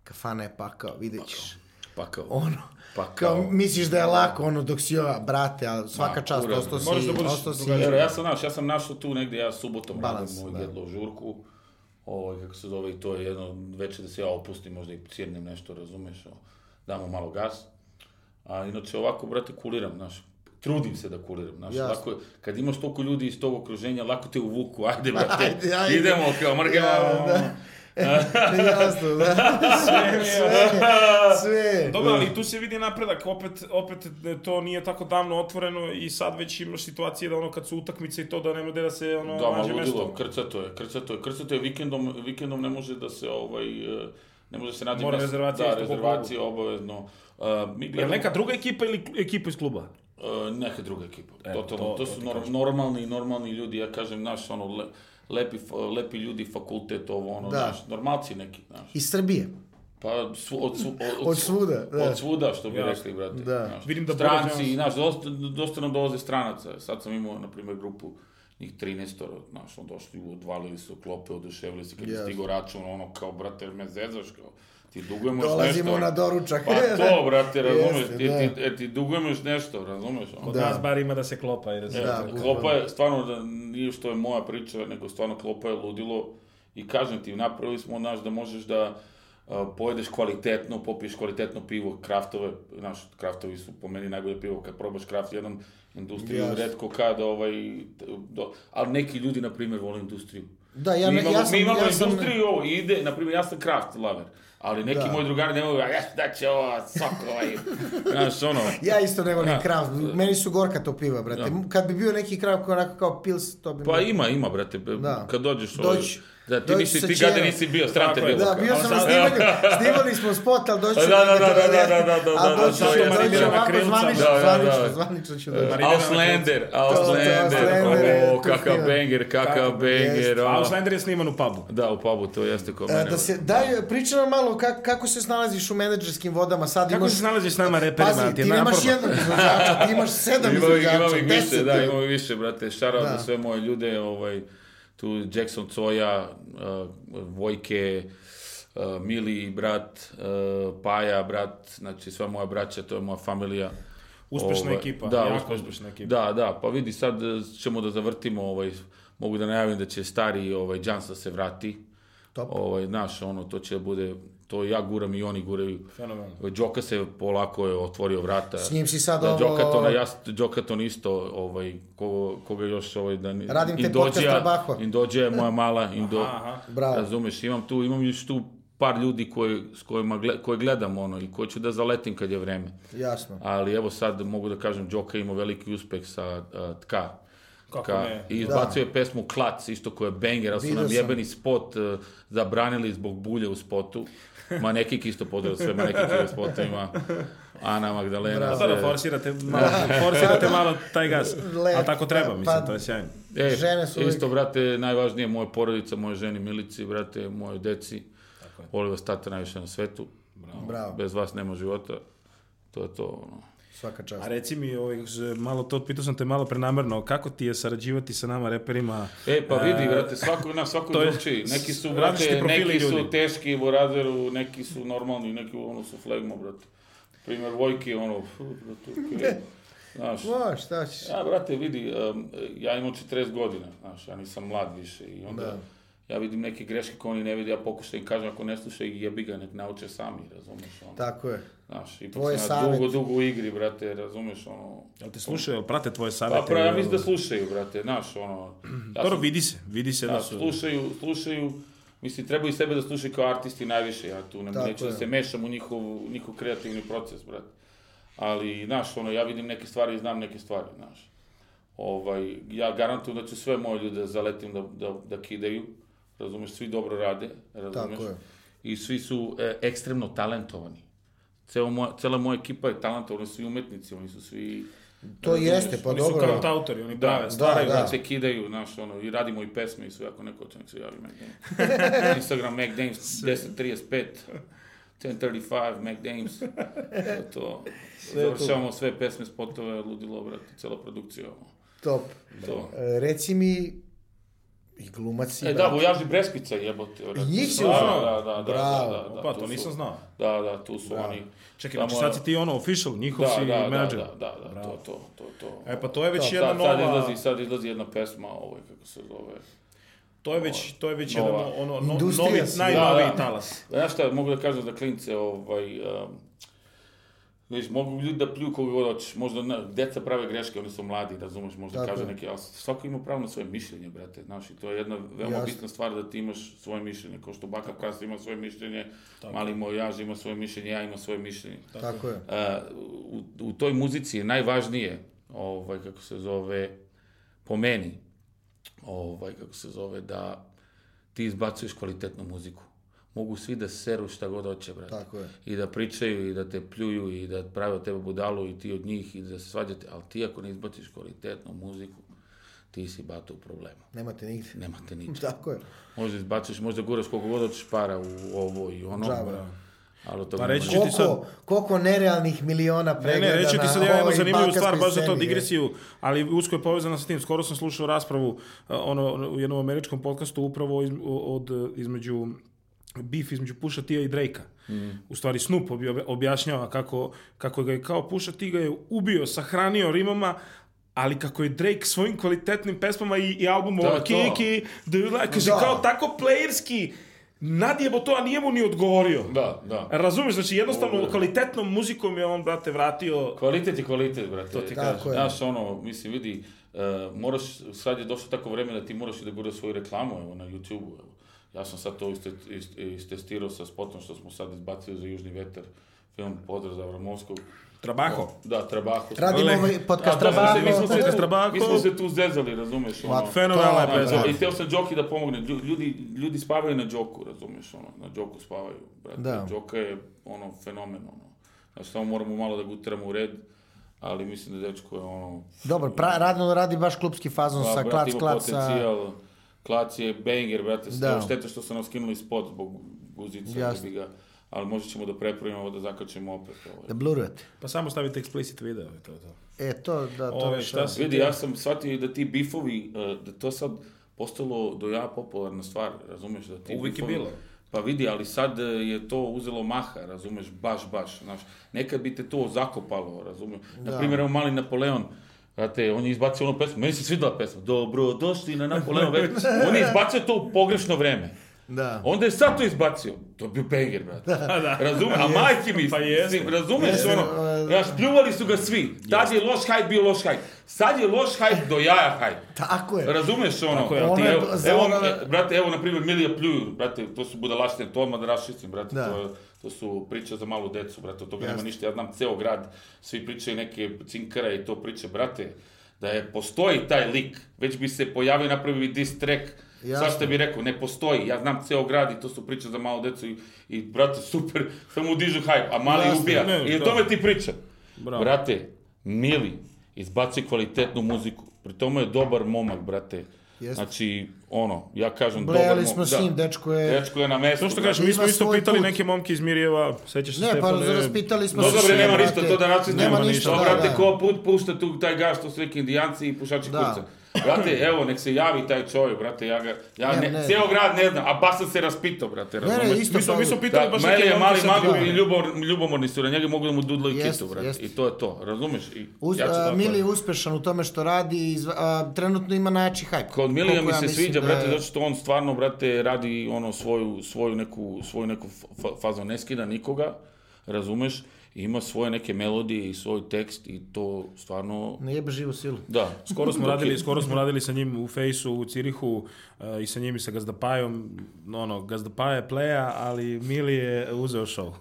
Speaker 1: kafana je pakao, vidjet ćeš.
Speaker 3: Pa Pakao.
Speaker 1: Ono,
Speaker 3: Pa
Speaker 1: kao,
Speaker 3: kao-
Speaker 1: misliš da je lako, ono, dok si ova, brate, ali svaka
Speaker 3: Ma,
Speaker 1: čast,
Speaker 3: kurat,
Speaker 1: ostao si,
Speaker 2: moraš da budeš
Speaker 1: ostao si,
Speaker 2: drugačiji.
Speaker 3: Jer, ja sam, znaš, ja sam našao tu negde, ja subotom
Speaker 1: Balans,
Speaker 3: radim moj
Speaker 1: da.
Speaker 3: jedlo žurku, ovo, kako se zove, i to je jedno večer da se ja opustim, možda i sjednem nešto, razumeš, o, damo malo gas. A inače ovako, brate, kuliram, znaš, trudim se da kuliram, znaš,
Speaker 1: Jasno.
Speaker 3: lako, je- kad imaš toliko ljudi iz tog okruženja, lako te uvuku, ajde, brate,
Speaker 1: Ajde, ajde.
Speaker 3: idemo, kao, ono. mrga,
Speaker 1: Ja, da. jasno, da, sve.
Speaker 2: Dobro, ali tu se vidi napredak, opet, opet e, to nije tako davno otvoreno i sad već imaš situacije da ono kad su utakmice i to da nema gde da se ono
Speaker 3: Da, ma
Speaker 2: nađe
Speaker 3: ludilo,
Speaker 2: mesto.
Speaker 3: krcato je, krcato je, krcato je, vikendom, vikendom ne može da se ovaj, e, ne može da se nađe
Speaker 2: Mora
Speaker 3: mesto.
Speaker 2: rezervacija isto
Speaker 3: da,
Speaker 2: po klubu.
Speaker 3: rezervacije obavezno. Uh, mi
Speaker 2: Je
Speaker 3: gledamo,
Speaker 2: li neka druga ekipa ili ekipa iz kluba?
Speaker 3: E, neka druga ekipa.
Speaker 2: Eto,
Speaker 3: Totalno,
Speaker 2: to- to
Speaker 3: to, su
Speaker 2: ti
Speaker 3: nor-
Speaker 2: kažem.
Speaker 3: normalni i normalni ljudi, ja kažem, naš ono, le, lepi, fa- lepi ljudi, fakultet, ovo ono,
Speaker 1: Da.
Speaker 3: naš, normalci neki, znaš.
Speaker 1: Iz Srbije.
Speaker 3: Pa svu, od, svu, od,
Speaker 1: Od svuda, da.
Speaker 3: Od svuda, što bi
Speaker 2: Jasno.
Speaker 3: rekli, brate.
Speaker 1: Da.
Speaker 3: znaš.
Speaker 2: Vidim da Boris
Speaker 3: Stranci,
Speaker 2: Johnson-
Speaker 3: znaš, dosta, dosta nam dolaze stranaca. Sad sam imao, na primjer, grupu njih 13, znaš, on došli, odvalili su klope, oduševili se, kad je
Speaker 1: Jasno.
Speaker 3: stigo račun, ono, kao, brate, me zezaš, kao, ti dugujemo još nešto.
Speaker 1: Dolazimo na doručak.
Speaker 3: Pa to, brate, razumeš,
Speaker 1: Jeste,
Speaker 3: ti,
Speaker 1: da.
Speaker 3: ti, e, ti dugujemo još nešto, razumeš, ono.
Speaker 2: Od
Speaker 1: Da.
Speaker 2: nas bar ima da se klopa. Jer
Speaker 1: Da,
Speaker 3: Da,
Speaker 1: bukvalno.
Speaker 3: klopa je, stvarno, da nije što je moja priča, nego stvarno klopa je ludilo. I kažem ti, napravili smo, znaš, da možeš da a, pojedeš kvalitetno, popiješ kvalitetno pivo, kraftove, znaš, kraftovi su po meni najbolje pivo, kad probaš kraft jedan industriju,
Speaker 1: Jasno.
Speaker 3: yes. redko kada, ovaj, t- do, ali neki ljudi, na primjer, vole industriju.
Speaker 1: Da, ja
Speaker 3: mi
Speaker 1: ne- ja
Speaker 3: imamo,
Speaker 1: sam-
Speaker 3: mi imamo
Speaker 1: ja sam-
Speaker 3: industriju i ovo, i ide, na primjer, ja sam kraft lover, ali neki
Speaker 1: Da.
Speaker 3: moji drugari nemaju, a ja ću daći ovo, sok ovaj, znaš, ono.
Speaker 1: Ja isto ne volim
Speaker 3: Da.
Speaker 1: krav, meni su gorka to piva, brate.
Speaker 3: Da.
Speaker 1: Kad bi bio neki krav koji je onako kao pils, to bi...
Speaker 3: Pa
Speaker 1: mi-
Speaker 3: ima, ima, brate,
Speaker 1: Da.
Speaker 3: kad dođeš
Speaker 1: Doći.
Speaker 3: Da, ti
Speaker 1: Doći
Speaker 3: nisi,
Speaker 1: sa
Speaker 3: ti gade
Speaker 1: čerom.
Speaker 3: nisi bio, stran te
Speaker 2: Tako je.
Speaker 3: bilo.
Speaker 1: Da, bio
Speaker 2: Ali
Speaker 1: sam na
Speaker 2: sad-
Speaker 1: snimanju, snimali smo spot, ali doći
Speaker 3: Da, da, da, da, da, da, da,
Speaker 1: ali
Speaker 3: da,
Speaker 1: doći
Speaker 3: da,
Speaker 1: ću,
Speaker 3: to je
Speaker 1: doći ću
Speaker 2: Marinjana
Speaker 1: ovako,
Speaker 2: Krivca.
Speaker 1: zvanično,
Speaker 3: Da, da, E, da.
Speaker 1: zvanično, zvanično ću doći.
Speaker 2: Marinjana
Speaker 3: Auslander,
Speaker 1: To, to,
Speaker 3: Auslander,
Speaker 1: Auslander je
Speaker 3: o,
Speaker 1: tu
Speaker 3: kakav
Speaker 1: film.
Speaker 3: banger, kakav
Speaker 2: Kakav-
Speaker 3: banger,
Speaker 2: A
Speaker 3: o.
Speaker 2: Auslander je sniman u pubu.
Speaker 3: Da, u pubu, to jeste kod
Speaker 1: E,
Speaker 3: mene.
Speaker 1: Da se, daj, pričaj nam malo kak, kako se snalaziš u menadžerskim vodama, sad
Speaker 2: Kako
Speaker 1: imaš...
Speaker 2: se nalaziš s nama
Speaker 3: E,
Speaker 2: reperima?
Speaker 1: Pazi, ti
Speaker 2: je
Speaker 1: nemaš
Speaker 2: naporno.
Speaker 1: jednog izvođača, ti imaš sedam
Speaker 3: Imam ih- imam
Speaker 1: izvođača,
Speaker 3: ih više,
Speaker 1: deset.
Speaker 3: da, imam ih više, brate, šarao
Speaker 1: Da.
Speaker 3: za sve moje ljude, ovaj, tu Jackson Coja, uh, Vojke, uh, Mili, brat, uh, Paja, brat, znači sva moja braća, to je moja familija.
Speaker 2: Uspešna
Speaker 3: Ovaj,
Speaker 2: ekipa,
Speaker 3: da,
Speaker 2: jako
Speaker 3: uspešna.
Speaker 2: uspešna ekipa.
Speaker 3: Da, da, pa vidi sad eh, ćemo da zavrtimo ovaj mogu da najavim da će stari ovaj Jansa se vrati.
Speaker 1: Top.
Speaker 3: Ovaj naš ono to će da bude to ja guram i oni guraju.
Speaker 2: Fenomenalno.
Speaker 3: Đoka se polako je otvorio vrata.
Speaker 1: S njim si sad
Speaker 3: da,
Speaker 1: ovo-
Speaker 3: Đokaton, ja, Đokaton isto, ovaj, ko, koga još, ovaj, da... ne-
Speaker 1: Radim te podcast Trabaho.
Speaker 3: Indođa je moja mala, Indo,
Speaker 2: aha.
Speaker 1: Bravo.
Speaker 3: razumeš, imam tu, imam još tu par ljudi koji, s kojima gle, koje gledam ono i koje ću da zaletim kad je vreme.
Speaker 1: Jasno.
Speaker 3: Ali evo sad mogu da kažem, Đoka je imao veliki uspeh sa a, TK.
Speaker 2: Kako
Speaker 3: Ka,
Speaker 2: ne?
Speaker 3: I izbacio je pesmu Klac, isto koja je banger, ali su
Speaker 1: Vidio
Speaker 3: nam
Speaker 1: sam.
Speaker 3: jebeni spot eh, zabranili zbog bulje u spotu. Ma nekik isto podreo sve, ma nekik u spotovima. Ana Magdalena.
Speaker 2: Sada
Speaker 3: se-
Speaker 2: forsirate malo, forsirate malo taj gas.
Speaker 1: Lepo,
Speaker 2: A tako treba,
Speaker 1: pa-
Speaker 2: mislim,
Speaker 1: pa-
Speaker 2: to je sjajno.
Speaker 3: E,
Speaker 1: Žene su uvijek-
Speaker 3: Isto, brate, najvažnije moje porodica, moje ženi Milici, brate, moje deci.
Speaker 2: Tako je.
Speaker 3: Volim vas tata najviše na svetu.
Speaker 1: Bravo.
Speaker 3: Bez vas nema života. To je to, ono.
Speaker 1: Svaka čast.
Speaker 2: A reci mi, ovaj, kako se- malo to, pitao sam te malo prenamerno, kako ti je sarađivati sa nama reperima?
Speaker 3: E, pa vidi,
Speaker 2: E,
Speaker 3: brate, svako, na, svako
Speaker 2: to je
Speaker 3: drugčiji. Neki su,
Speaker 2: s- različiti
Speaker 3: brate,
Speaker 2: profili
Speaker 3: neki su
Speaker 2: ljudi.
Speaker 3: teški u razeru, neki su normalni, neki ono su flegmo, brate. Primjer, Vojki, ono, fu, brate, okej. Znaš,
Speaker 1: O, šta ćeš?
Speaker 3: ja, brate, vidi, em, ja imam 40 godina, znaš, ja nisam mlad više i onda...
Speaker 1: Da.
Speaker 3: Ja vidim neke greške koje oni ne vide, ja pokušam i kažem ako ne slušaju, jebi ga, nek nauče sami, razumeš ono.
Speaker 1: Tako je.
Speaker 3: Znaš, ipak
Speaker 1: Tvoj
Speaker 3: sam ja
Speaker 1: savjet.
Speaker 3: dugo, dugo u igri, brate, razumeš ono.
Speaker 2: Jel te slušaju, jel prate tvoje savete?
Speaker 3: Pa, pra, ja
Speaker 2: Jel-
Speaker 3: mislim da slušaju, brate, znaš, ono. Ja
Speaker 2: Dobro,
Speaker 3: sam-
Speaker 2: vidi se, vidi se da
Speaker 3: da,
Speaker 2: su...
Speaker 3: slušaju, slušaju, mislim, trebaju sebe da slušaju kao artisti najviše, ja tu ne,
Speaker 1: Tako
Speaker 3: neću da
Speaker 1: je.
Speaker 3: se mešam u njihov, u njihov kreativni proces, brat. Ali, znaš, ono, ja vidim neke stvari i znam neke stvari, znaš. Ovaj, ja garantujem da ću sve moje ljude da zaletim da, da, da kidaju, razumeš, svi dobro rade, razumeš.
Speaker 1: Tako je.
Speaker 3: I svi su e, ekstremno talentovani. Ceo moja, cela moja ekipa je talentovana, svi umetnici, oni su svi...
Speaker 1: To jeste, pa
Speaker 2: Oni su
Speaker 1: dobro.
Speaker 2: kao autori, oni
Speaker 3: Da,
Speaker 2: prave stvari.
Speaker 3: stvaraju,
Speaker 1: da.
Speaker 3: da, se kidaju, znaš, ono, i radimo i pesme i sve, ako neko hoće, nek se javi McDames. Instagram McDames 1035, 1035 McDames, to je to. Završavamo sve pesme, spotove, ludilo, brate, cela produkcija, ono,
Speaker 1: Top.
Speaker 3: to.
Speaker 1: E, Reci mi, i glumac i
Speaker 3: E, da, Vojaži Brespica jebote, brate.
Speaker 1: njih si
Speaker 3: Stvarno,
Speaker 1: uzeo?
Speaker 3: Da, da, da,
Speaker 1: Bravo.
Speaker 3: da, da, da,
Speaker 2: Pa,
Speaker 3: tu
Speaker 2: to
Speaker 3: su-
Speaker 2: nisam znao.
Speaker 3: Da, da, tu su oni.
Speaker 2: Čekaj,
Speaker 3: Samo-
Speaker 2: znači sad si ti ono official, njihov
Speaker 3: da,
Speaker 2: si
Speaker 3: da, da,
Speaker 2: menadžer.
Speaker 3: da, da, da, to, to, to, to.
Speaker 2: E pa to je već
Speaker 1: Da,
Speaker 2: jedna
Speaker 3: sad, sad
Speaker 2: nova...
Speaker 3: izlazi, sad izlazi jedna pesma, ovaj, kako se zove,
Speaker 2: To je već, to je već
Speaker 3: Nova.
Speaker 2: jedan ono, no,
Speaker 1: Industrija
Speaker 2: novi,
Speaker 1: si.
Speaker 2: najnoviji
Speaker 3: Da, da.
Speaker 2: talas.
Speaker 3: Znaš šta, mogu da kažem za klince, ovaj, um, vidiš, mogu ljudi da pljuju koga god hoćeš, možda na, deca prave greške, oni su mladi, razumeš, možda
Speaker 1: Tako
Speaker 3: kaže
Speaker 1: je.
Speaker 3: neki, ali svako ima pravo na svoje mišljenje, brate, znaš, i to je jedna veoma
Speaker 1: Jasno.
Speaker 3: bitna stvar da ti imaš svoje mišljenje, kao što Baka Prasa ima svoje mišljenje, mali moj jaž ima svoje mišljenje, ja imam svoje mišljenje.
Speaker 1: Tako je.
Speaker 3: E, u, u toj muzici je najvažnije, ovaj, kako se zove, po meni, ovaj, kako se zove, da ti izbacuješ kvalitetnu muziku. Mogu svi da seru šta god hoće, brate.
Speaker 1: Tako je.
Speaker 3: I da pričaju, i da te pljuju, i da prave od tebe budalu, i ti od njih, i da se svađate. Ali ti ako ne izbaciš kvalitetnu muziku, ti si bata u problemu.
Speaker 1: Nemate nigde.
Speaker 3: Nemate ničeg.
Speaker 1: Tako je.
Speaker 3: Možda izbaciš, možda guraš koliko god hoćeš para u ovo i ono.
Speaker 1: Džaba.
Speaker 3: Ali od toga
Speaker 2: Pa
Speaker 3: nema
Speaker 2: reći ću
Speaker 3: ništa.
Speaker 2: ti sad-
Speaker 1: Koliko, koliko nerealnih miliona
Speaker 2: Ne,
Speaker 1: pregleda
Speaker 2: ne, reći ću ti sad ja jednu
Speaker 1: ovoj
Speaker 2: zanimljivu
Speaker 1: balkanskoj
Speaker 2: stvar, baš za to
Speaker 1: sceni, je.
Speaker 2: digresiju, ali usko je povezana sa tim. Skoro sam slušao raspravu uh, ono, u jednom američkom podcastu upravo iz, od, uh, između beef između Pusha T-a i Drake-a.
Speaker 1: Mm.
Speaker 2: U stvari Snoop obja- objašnjava kako, kako ga je kao Pusha T ga je ubio, sahranio rimama, ali kako je Drake svojim kvalitetnim pesmama i, i albumom
Speaker 3: To je
Speaker 2: ono,
Speaker 3: to.
Speaker 2: Kiki, Do You Like, kaže
Speaker 1: Da.
Speaker 2: kao tako playerski, nadjebo to, a nije mu ni odgovorio.
Speaker 3: Da, da.
Speaker 2: Razumeš, znači jednostavno
Speaker 3: Ovo je.
Speaker 2: kvalitetnom muzikom je on, brate, vratio...
Speaker 3: Kvalitet je kvalitet, brate. To ti
Speaker 1: Tako kažem. je.
Speaker 3: Znaš, ono, mislim, vidi, e, moraš, sad je došlo tako vreme da ti moraš i da guraš svoju reklamu, evo, na YouTube-u, evo. Ja sam sad to iste, ist- istestirao sa spotom što smo sad izbacili za Južni veter, film Podraz Avramovskog.
Speaker 2: Trabaho.
Speaker 3: Da, Trabaho.
Speaker 1: Radimo
Speaker 2: Ale-
Speaker 1: ovaj
Speaker 3: A,
Speaker 1: podcast
Speaker 3: da, mi se- mi smo
Speaker 1: Trabaho.
Speaker 3: se tu-
Speaker 2: Trabaho.
Speaker 3: Mi smo se tu zezali, razumeš, ono.
Speaker 2: Fenomenalna je
Speaker 1: Da,
Speaker 2: pesma.
Speaker 1: da.
Speaker 3: I teo sam Džoki da pomogne. Lju- Ljudi, ljudi spavaju na Džoku, razumiješ, ono, na Džoku spavaju, brate.
Speaker 1: Da.
Speaker 3: Džoka je, ono, fenomen, ono. Znači, samo moramo malo da gutiramo u red, ali mislim da dečko je, ono...
Speaker 1: Dobro, pra, radno radi baš klubski fazon
Speaker 3: pa,
Speaker 1: sa
Speaker 3: brate,
Speaker 1: klac,
Speaker 3: ima
Speaker 1: klac, sa...
Speaker 3: Potencijal, klac je banger, brate.
Speaker 1: Da.
Speaker 3: Da. Šteta što su nam skinuli spot zbog
Speaker 1: Jasno.
Speaker 3: guzica. Jasno. Da bi ga, ali možda ćemo da prepravimo ovo da zakačemo opet. Ovaj.
Speaker 1: Da blurujete.
Speaker 2: Pa samo stavite explicit video i to je to.
Speaker 1: E, to, da, to
Speaker 2: Ove,
Speaker 1: više-
Speaker 2: šta si
Speaker 3: Vidi,
Speaker 2: ti-
Speaker 3: ja sam shvatio i da ti bifovi, eh, da to sad postalo do ja popularna stvar, razumeš? Da ti
Speaker 2: Uvijek je
Speaker 3: bifovi-
Speaker 2: bilo.
Speaker 3: Pa vidi, ali sad eh, je to uzelo maha, razumeš, baš, baš, znaš. Nekad bi te to zakopalo, razumeš. Na primjer, evo mali Napoleon, Znate, on je izbacio onu pesmu, meni se svidala pesma, dobro, došli na Napoleon, već. on je izbacio to u pogrešno vreme.
Speaker 1: Da.
Speaker 3: Onda je sad to izbacio. To je bio banger, brate. Razumeš? A majke mi,
Speaker 2: Pa jeste.
Speaker 3: mislim, razumeš
Speaker 1: Jeste,
Speaker 3: ono?
Speaker 1: e,
Speaker 3: Znaš, pljuvali su ga svi. Tad je loš hajp bio loš hajp. Sad je loš hajp do jaja hajp.
Speaker 1: Tako je.
Speaker 3: Razumeš ono?
Speaker 2: Tako je, ali
Speaker 3: evo,
Speaker 1: ti- Ono je
Speaker 3: evo,
Speaker 1: za ono-
Speaker 3: e, brate, evo, na primjer, Milija pljuju, brate, to su budalaštine, to odmah da raščistim, brate,
Speaker 1: Da.
Speaker 3: to, je- to su priče za malu decu, brate, od toga nema
Speaker 1: Jasno.
Speaker 3: ništa, ja znam ceo grad, svi pričaju neke cinkara i to priče, brate, Da je postoji taj lik, već bi se pojavio i napravio bi diss track.
Speaker 1: Jasno.
Speaker 3: Svašta bi rekao, ne postoji. Ja znam ceo grad i to su priče za malo decu i, i brate, super, samo dižu hype, a mali
Speaker 1: Jasno,
Speaker 3: ubija.
Speaker 2: ne,
Speaker 3: I o
Speaker 2: da.
Speaker 3: tome ti pričam.
Speaker 2: Bravo.
Speaker 3: Brate, mili, izbaci kvalitetnu muziku. Pri tome je dobar momak, brate.
Speaker 1: Jeste.
Speaker 3: Znači, ono, ja kažem dobar
Speaker 1: Blejali
Speaker 3: momak.
Speaker 1: smo s njim, dečko je...
Speaker 3: Dečko je na mestu.
Speaker 2: To što
Speaker 3: brate.
Speaker 2: kažeš, mi smo
Speaker 1: Ima
Speaker 2: isto
Speaker 1: svoj
Speaker 2: pitali
Speaker 1: put.
Speaker 2: neke momke iz Mirjeva, sećaš se
Speaker 1: Ne, pa raspitali smo
Speaker 3: No
Speaker 1: se
Speaker 3: dobro,
Speaker 1: svi,
Speaker 3: nema
Speaker 1: brate.
Speaker 3: ništa, to da način
Speaker 1: Nema ništa,
Speaker 3: To,
Speaker 1: da,
Speaker 3: brate,
Speaker 1: da.
Speaker 3: ko put pušta tu taj gaz, što su neki indijanci i pušači
Speaker 1: Da.
Speaker 3: kurca. Brate, evo, nek se javi taj čovjek, brate, ja ga, ja
Speaker 1: Ne,
Speaker 3: ne,
Speaker 1: ne.
Speaker 3: ceo grad ne znam, a baš sam se raspitao, brate,
Speaker 1: Ne,
Speaker 3: razumeš?
Speaker 1: ne, isto
Speaker 2: Mi smo, mi smo
Speaker 1: Pavle.
Speaker 2: pitali
Speaker 3: Da,
Speaker 2: baš
Speaker 3: Meli
Speaker 2: neke
Speaker 3: je mali
Speaker 2: momke
Speaker 3: mago
Speaker 2: sad.
Speaker 3: i ljubor, ljubomorni su, na njega mogu da mu dudlo i
Speaker 1: Jest,
Speaker 3: kitu, brate.
Speaker 1: jest.
Speaker 3: I to je to, razumeš? I
Speaker 1: Uz,
Speaker 3: ja ću
Speaker 1: a,
Speaker 3: tako-
Speaker 1: Mili je uspešan u tome što radi, i izva- a, trenutno ima najjači hype.
Speaker 3: Kod Milija
Speaker 1: Koliko
Speaker 3: mi
Speaker 1: ja
Speaker 3: se
Speaker 1: mislim
Speaker 3: sviđa,
Speaker 1: da
Speaker 3: brate,
Speaker 1: je-
Speaker 3: zato što on stvarno, brate, radi ono svoju, svoju neku, svoju neku fa- fazu, ne skida nikoga, razumeš, I ima svoje neke melodije i svoj tekst i to stvarno,
Speaker 1: Ne jebe živu silu.
Speaker 3: da.
Speaker 2: Skoro smo
Speaker 3: Dok je-
Speaker 2: radili, skoro smo radili sa njim u Fejsu, u Cirihu e, i sa njim i sa Gazdapajom. No, ono, Gazdapaja je pleja, ali Mili je uzeo show.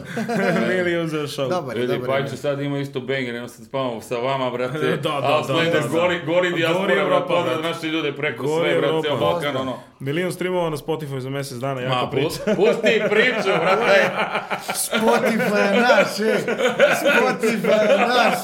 Speaker 2: Mili je uzeo show.
Speaker 1: Dobar je,
Speaker 3: Vidi,
Speaker 1: dobar je.
Speaker 3: Pajče sad ima isto banger, evo sad spavamo sa vama, brate.
Speaker 2: Da, da,
Speaker 3: A,
Speaker 2: da,
Speaker 3: Slender,
Speaker 2: da, da.
Speaker 3: Gori, gori dijaspora,
Speaker 2: Gori Europa,
Speaker 3: brate, pozdrav
Speaker 2: brate.
Speaker 3: naše ljude preko
Speaker 2: Gori
Speaker 3: sve, brate,
Speaker 2: Europa.
Speaker 3: ceo Balkan, ono.
Speaker 2: Milion streamova na Spotify za mjesec dana, jako
Speaker 3: Ma,
Speaker 2: priča.
Speaker 3: pu- pusti priču, brate.
Speaker 1: Spotify je naš, e. Spotify je naš.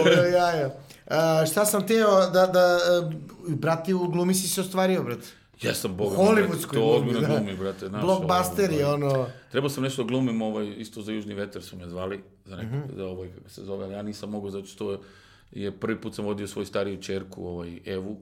Speaker 1: Ovo jaja. A, šta sam teo da, da, e, brate, u glumi si se ostvario, brate.
Speaker 3: Ja sam
Speaker 1: U
Speaker 3: boga,
Speaker 1: Hollywoodskoj
Speaker 3: to
Speaker 1: glumi,
Speaker 3: odmjeno
Speaker 1: da.
Speaker 3: glumi, brate. znaš,
Speaker 1: Blockbuster
Speaker 3: ono,
Speaker 1: je ono...
Speaker 3: Trebao sam nešto da glumim, ovaj, isto za Južni veter su me zvali, za,
Speaker 1: Mhm.
Speaker 3: neko, za ovaj, kako se zove, ali ja nisam mogao, zato što je prvi put sam vodio svoju stariju čerku, ovaj, Evu,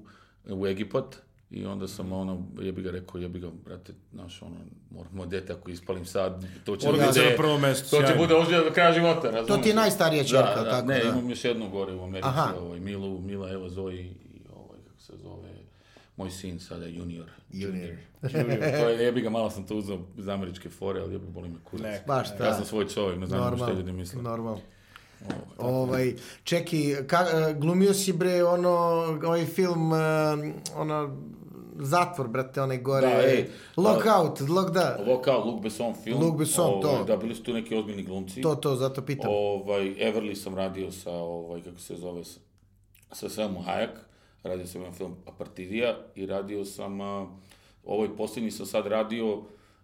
Speaker 3: u Egipat, i onda
Speaker 1: Mhm.
Speaker 3: sam ono, je bi ga rekao, je bi ga, brate, znaš, ono, moramo dete, ako ispalim sad, to će
Speaker 2: Porodica na prvom mestu,
Speaker 3: to će
Speaker 2: sjajno.
Speaker 3: bude ožilja do kraja života, razumiješ?
Speaker 1: ti je najstarija čerka,
Speaker 3: da, da,
Speaker 1: tako
Speaker 3: ne,
Speaker 1: da.
Speaker 3: imam još jednu gore u Americi,
Speaker 1: Aha.
Speaker 3: ovaj, Milu, Mila, Eva, Zoji, i ovaj, kako se zove, moj sin sada, junior.
Speaker 1: Junior.
Speaker 3: to je, jebi ga, malo sam to uzeo iz američke fore, ali jebi boli me kurac.
Speaker 2: Ne,
Speaker 1: Baš da.
Speaker 3: Ja sam svoj čovjek, ne znam što ljudi misle.
Speaker 1: Normal. Ovaj, čeki, ka, e, glumio si bre ono, ovaj film, e, ono, zatvor, brate, onaj gore.
Speaker 3: Da, e, ej.
Speaker 1: Lockout, lock, da.
Speaker 3: Ovo kao Luke Besson film.
Speaker 1: Luc Besson,
Speaker 3: ovaj,
Speaker 1: to.
Speaker 3: Da, bili su tu neki ozbiljni glumci.
Speaker 1: To, to, zato pitam.
Speaker 3: Ovaj, Everly sam radio sa, ovaj, kako se zove, sa, sa Selmu Hayek. Radio sam jedan film Apartidija i radio sam, a, ovaj posljednji sam sad radio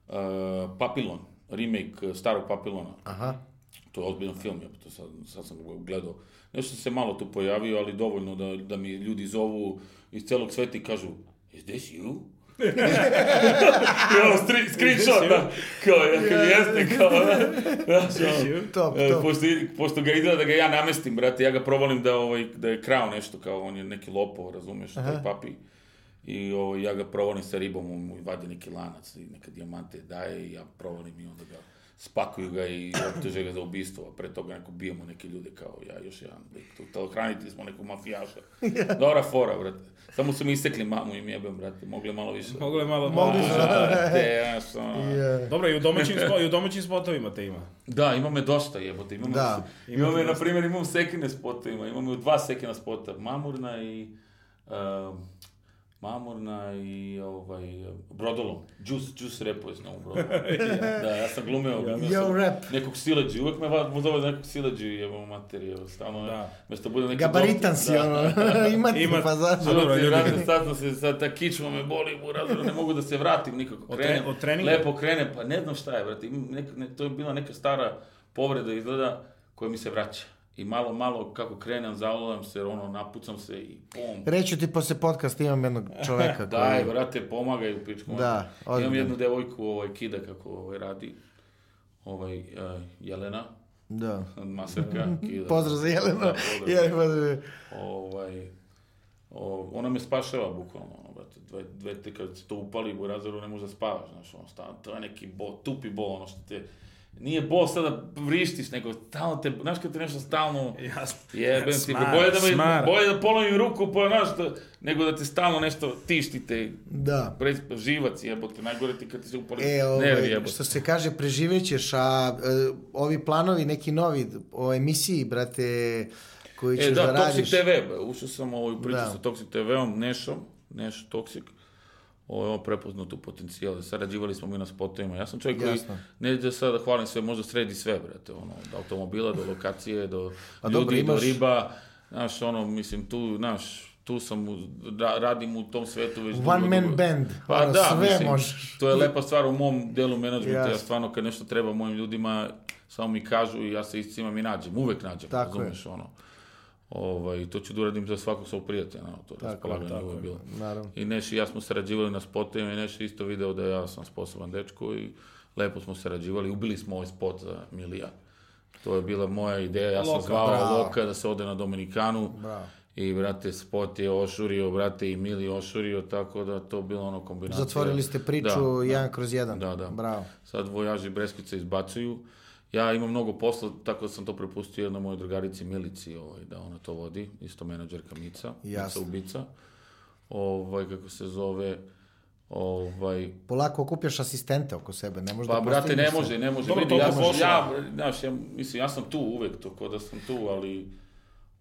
Speaker 3: a, Papilon, remake a, starog Papilona.
Speaker 1: Aha.
Speaker 3: To je ozbiljan film, ja to sad, sad sam ga gledao. Nešto se malo tu pojavio, ali dovoljno da, da mi ljudi zovu iz celog sveta i kažu Is this you? I ono, stri, screenshot, da, kao, ja kao, jeste, kao, da, da,
Speaker 1: Top,
Speaker 3: E,
Speaker 1: top.
Speaker 3: Pošto, pošto ga izgleda da ga ja namestim, brate, ja ga provalim da, ovaj, da je krao nešto, kao on je neki lopov, razumeš, taj papi. I ovaj, ja ga provalim sa ribom, on mu vadi neki lanac i neke dijamante daje i ja provalim i onda ga spakuju ga i optuže ga za ubistvo, a pre toga neko bijemo neke ljude kao ja, još jedan lik tu, to hraniti smo nekog mafijaša. Dobra fora, brate. Samo su mi isekli mamu im jebem, brate, mogle malo više.
Speaker 2: Moglo je malo...
Speaker 3: Brate, znaš, ono.
Speaker 1: Je.
Speaker 2: Dobro, i u domaćim, spo, i u domaćim spotovima te ima.
Speaker 3: Da, imam je dosta jebote, imam,
Speaker 1: Da.
Speaker 3: da. imam je, na primjer, imam sekine spota, imam, imam je dva sekina spota, Mamurna i, um, Mamurna i ovaj, Brodolom, Juice, Juice repo je s njom u Brodolom. da, ja sam glumio, glumio
Speaker 1: Yo,
Speaker 3: sam
Speaker 1: rap.
Speaker 3: nekog sileđi, uvek me va- mu zove za nekog sileđi, jebo materije, stalno,
Speaker 2: Da.
Speaker 3: da. mesto bude neki
Speaker 1: Gabaritan
Speaker 3: doktor,
Speaker 1: si,
Speaker 3: da. ono-
Speaker 1: ono. Imate,
Speaker 2: Ima-
Speaker 1: pa
Speaker 2: A
Speaker 1: zašto?
Speaker 2: dobro,
Speaker 3: Ljudi,
Speaker 2: ljudi.
Speaker 3: vrate, sad sam se, sad ta kičma me boli, u razvoju, ne mogu da se vratim nikako.
Speaker 2: Od tre-
Speaker 3: Krenem,
Speaker 2: od treninga?
Speaker 3: Lepo krene, pa ne znam šta je, brate, imam nek, ne, to je bila neka stara povreda izgleda koja mi se vraća. I malo, malo, kako krenem, zavolam se, ono, napucam se i pom.
Speaker 1: Reću ti posle podcasta imam jednog čoveka
Speaker 3: Daj,
Speaker 1: koji...
Speaker 3: brate, pomagaj u pičku.
Speaker 1: Da,
Speaker 3: Imam
Speaker 1: ozbiljno.
Speaker 3: jednu devojku, ovaj, kida kako ovaj, radi, ovaj, eh, Jelena,
Speaker 1: Da.
Speaker 3: maserka, kida.
Speaker 1: Pozdrav za Jelenu.
Speaker 3: Da, pozdrav.
Speaker 1: Je, pozdrav.
Speaker 3: ovaj, o, ona me spašava bukvalno, ono, brate, dve, dve te kad se to upali u razoru ne možeš da spavaš, znaš, ono, stan, to je neki bo, tupi bo, ono što te, nije bo sada vrištiš, nego stalno te, znaš kad te nešto stalno,
Speaker 2: Jasno.
Speaker 3: jebem ti,
Speaker 2: Smara,
Speaker 3: bolje da, me,
Speaker 2: smara.
Speaker 3: bolje da polovim ruku, pa, znaš, da, nego da te stalno nešto tištite,
Speaker 1: Da.
Speaker 3: pre, živac jebote, najgore ti kad ti se upali
Speaker 1: E,
Speaker 3: nervi
Speaker 1: ovaj,
Speaker 3: jebote.
Speaker 1: što se kaže, preživećeš, a e, ovi planovi, neki novi o emisiji, brate, koji ćeš
Speaker 3: E,
Speaker 1: da,
Speaker 3: da,
Speaker 1: radiš.
Speaker 3: Toxic TV, ušao sam ovaj u priču
Speaker 1: Da.
Speaker 3: sa Toxic TV-om, Nešom, Neš Toxic, ovaj, on prepoznao tu potencijal. Sarađivali smo mi na spotovima. Ja sam čovjek koji,
Speaker 1: Jasno.
Speaker 3: ne da sada hvalim sve, možda sredi sve, brate, ono, od automobila do lokacije, do
Speaker 1: Pa
Speaker 3: ljudi,
Speaker 1: dobro, imaš-
Speaker 3: do riba. Znaš, ono, mislim, tu, znaš, tu sam, u, ra- radim u tom svetu već dugo,
Speaker 1: One man
Speaker 3: dugo.
Speaker 1: band.
Speaker 3: Pa
Speaker 1: Ono,
Speaker 3: da,
Speaker 1: sve
Speaker 3: mislim,
Speaker 1: možeš.
Speaker 3: to je lepa stvar u mom delu menadžmenta,
Speaker 1: Jasno.
Speaker 3: ja stvarno kad nešto treba mojim ljudima, samo mi kažu i ja se iscimam i nađem, uvek nađem,
Speaker 1: Tako je.
Speaker 3: razumeš, ono. Ovaj, to ću da uradim za svakog svog prijatelja, ono, to
Speaker 1: je,
Speaker 3: raspolaganje je uvek bilo.
Speaker 1: Naravno.
Speaker 3: I Neš i ja smo sarađivali na spotovima i Neš je isto video da ja sam sposoban dečko i lepo smo sarađivali, ubili smo ovaj spot za milijan. To je bila moja ideja, ja sam
Speaker 2: Loka,
Speaker 3: zvao
Speaker 1: bravo.
Speaker 3: Loka da se ode na Dominikanu.
Speaker 1: Bravo.
Speaker 3: I, brate, spot je ošurio, brate, i Mili ošurio, tako da to bilo ono kombinacija.
Speaker 1: Zatvorili ste
Speaker 3: Da.
Speaker 1: priču jedan kroz jedan.
Speaker 3: Da, da.
Speaker 1: Bravo.
Speaker 3: Sad vojaži Breskice izbacuju. Ja imam mnogo posla, tako da sam to prepustio jednoj mojoj drugarici Milici, ovaj, da ona to vodi, isto menadžerka Mica,
Speaker 1: Jasno.
Speaker 3: Mica Ubica. Ovaj, kako se zove, ovaj,
Speaker 1: Polako okupljaš asistente oko sebe, ne možeš da
Speaker 3: pa brate,
Speaker 1: postigneš
Speaker 3: ne
Speaker 1: sve.
Speaker 3: može, ne može.
Speaker 2: Dobro,
Speaker 3: vidi, ja,
Speaker 2: toliko
Speaker 3: sam,
Speaker 2: posla.
Speaker 3: ja, znaš, ja, mislim, ja sam tu uvek, to ko da sam tu, ali...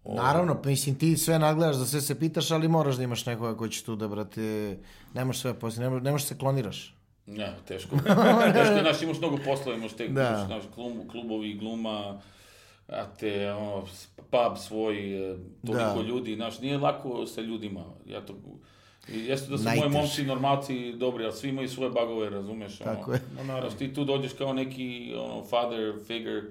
Speaker 1: Naravno, pa mislim ti sve nagledaš, za sve se pitaš, ali moraš da imaš nekoga koji će tu da, brate, ne možeš sve poslije, ne možeš, ne možeš se kloniraš.
Speaker 3: Ne, teško. teško, je, znaš, imaš mnogo posla, imaš tek,
Speaker 1: Da.
Speaker 3: imaš, znaš, klum- klubovi, gluma, a te, ono, s- pub svoj, e, toliko
Speaker 1: Da.
Speaker 3: ljudi, znaš, nije lako sa ljudima, ja to... i Jeste da su moji
Speaker 1: Najteže.
Speaker 3: momci normalci dobri, ali svi imaju svoje bagove, razumeš? ono.
Speaker 1: Tako je.
Speaker 2: Ma naravno.
Speaker 3: Znaš, ti tu dođeš kao neki ono, father figure,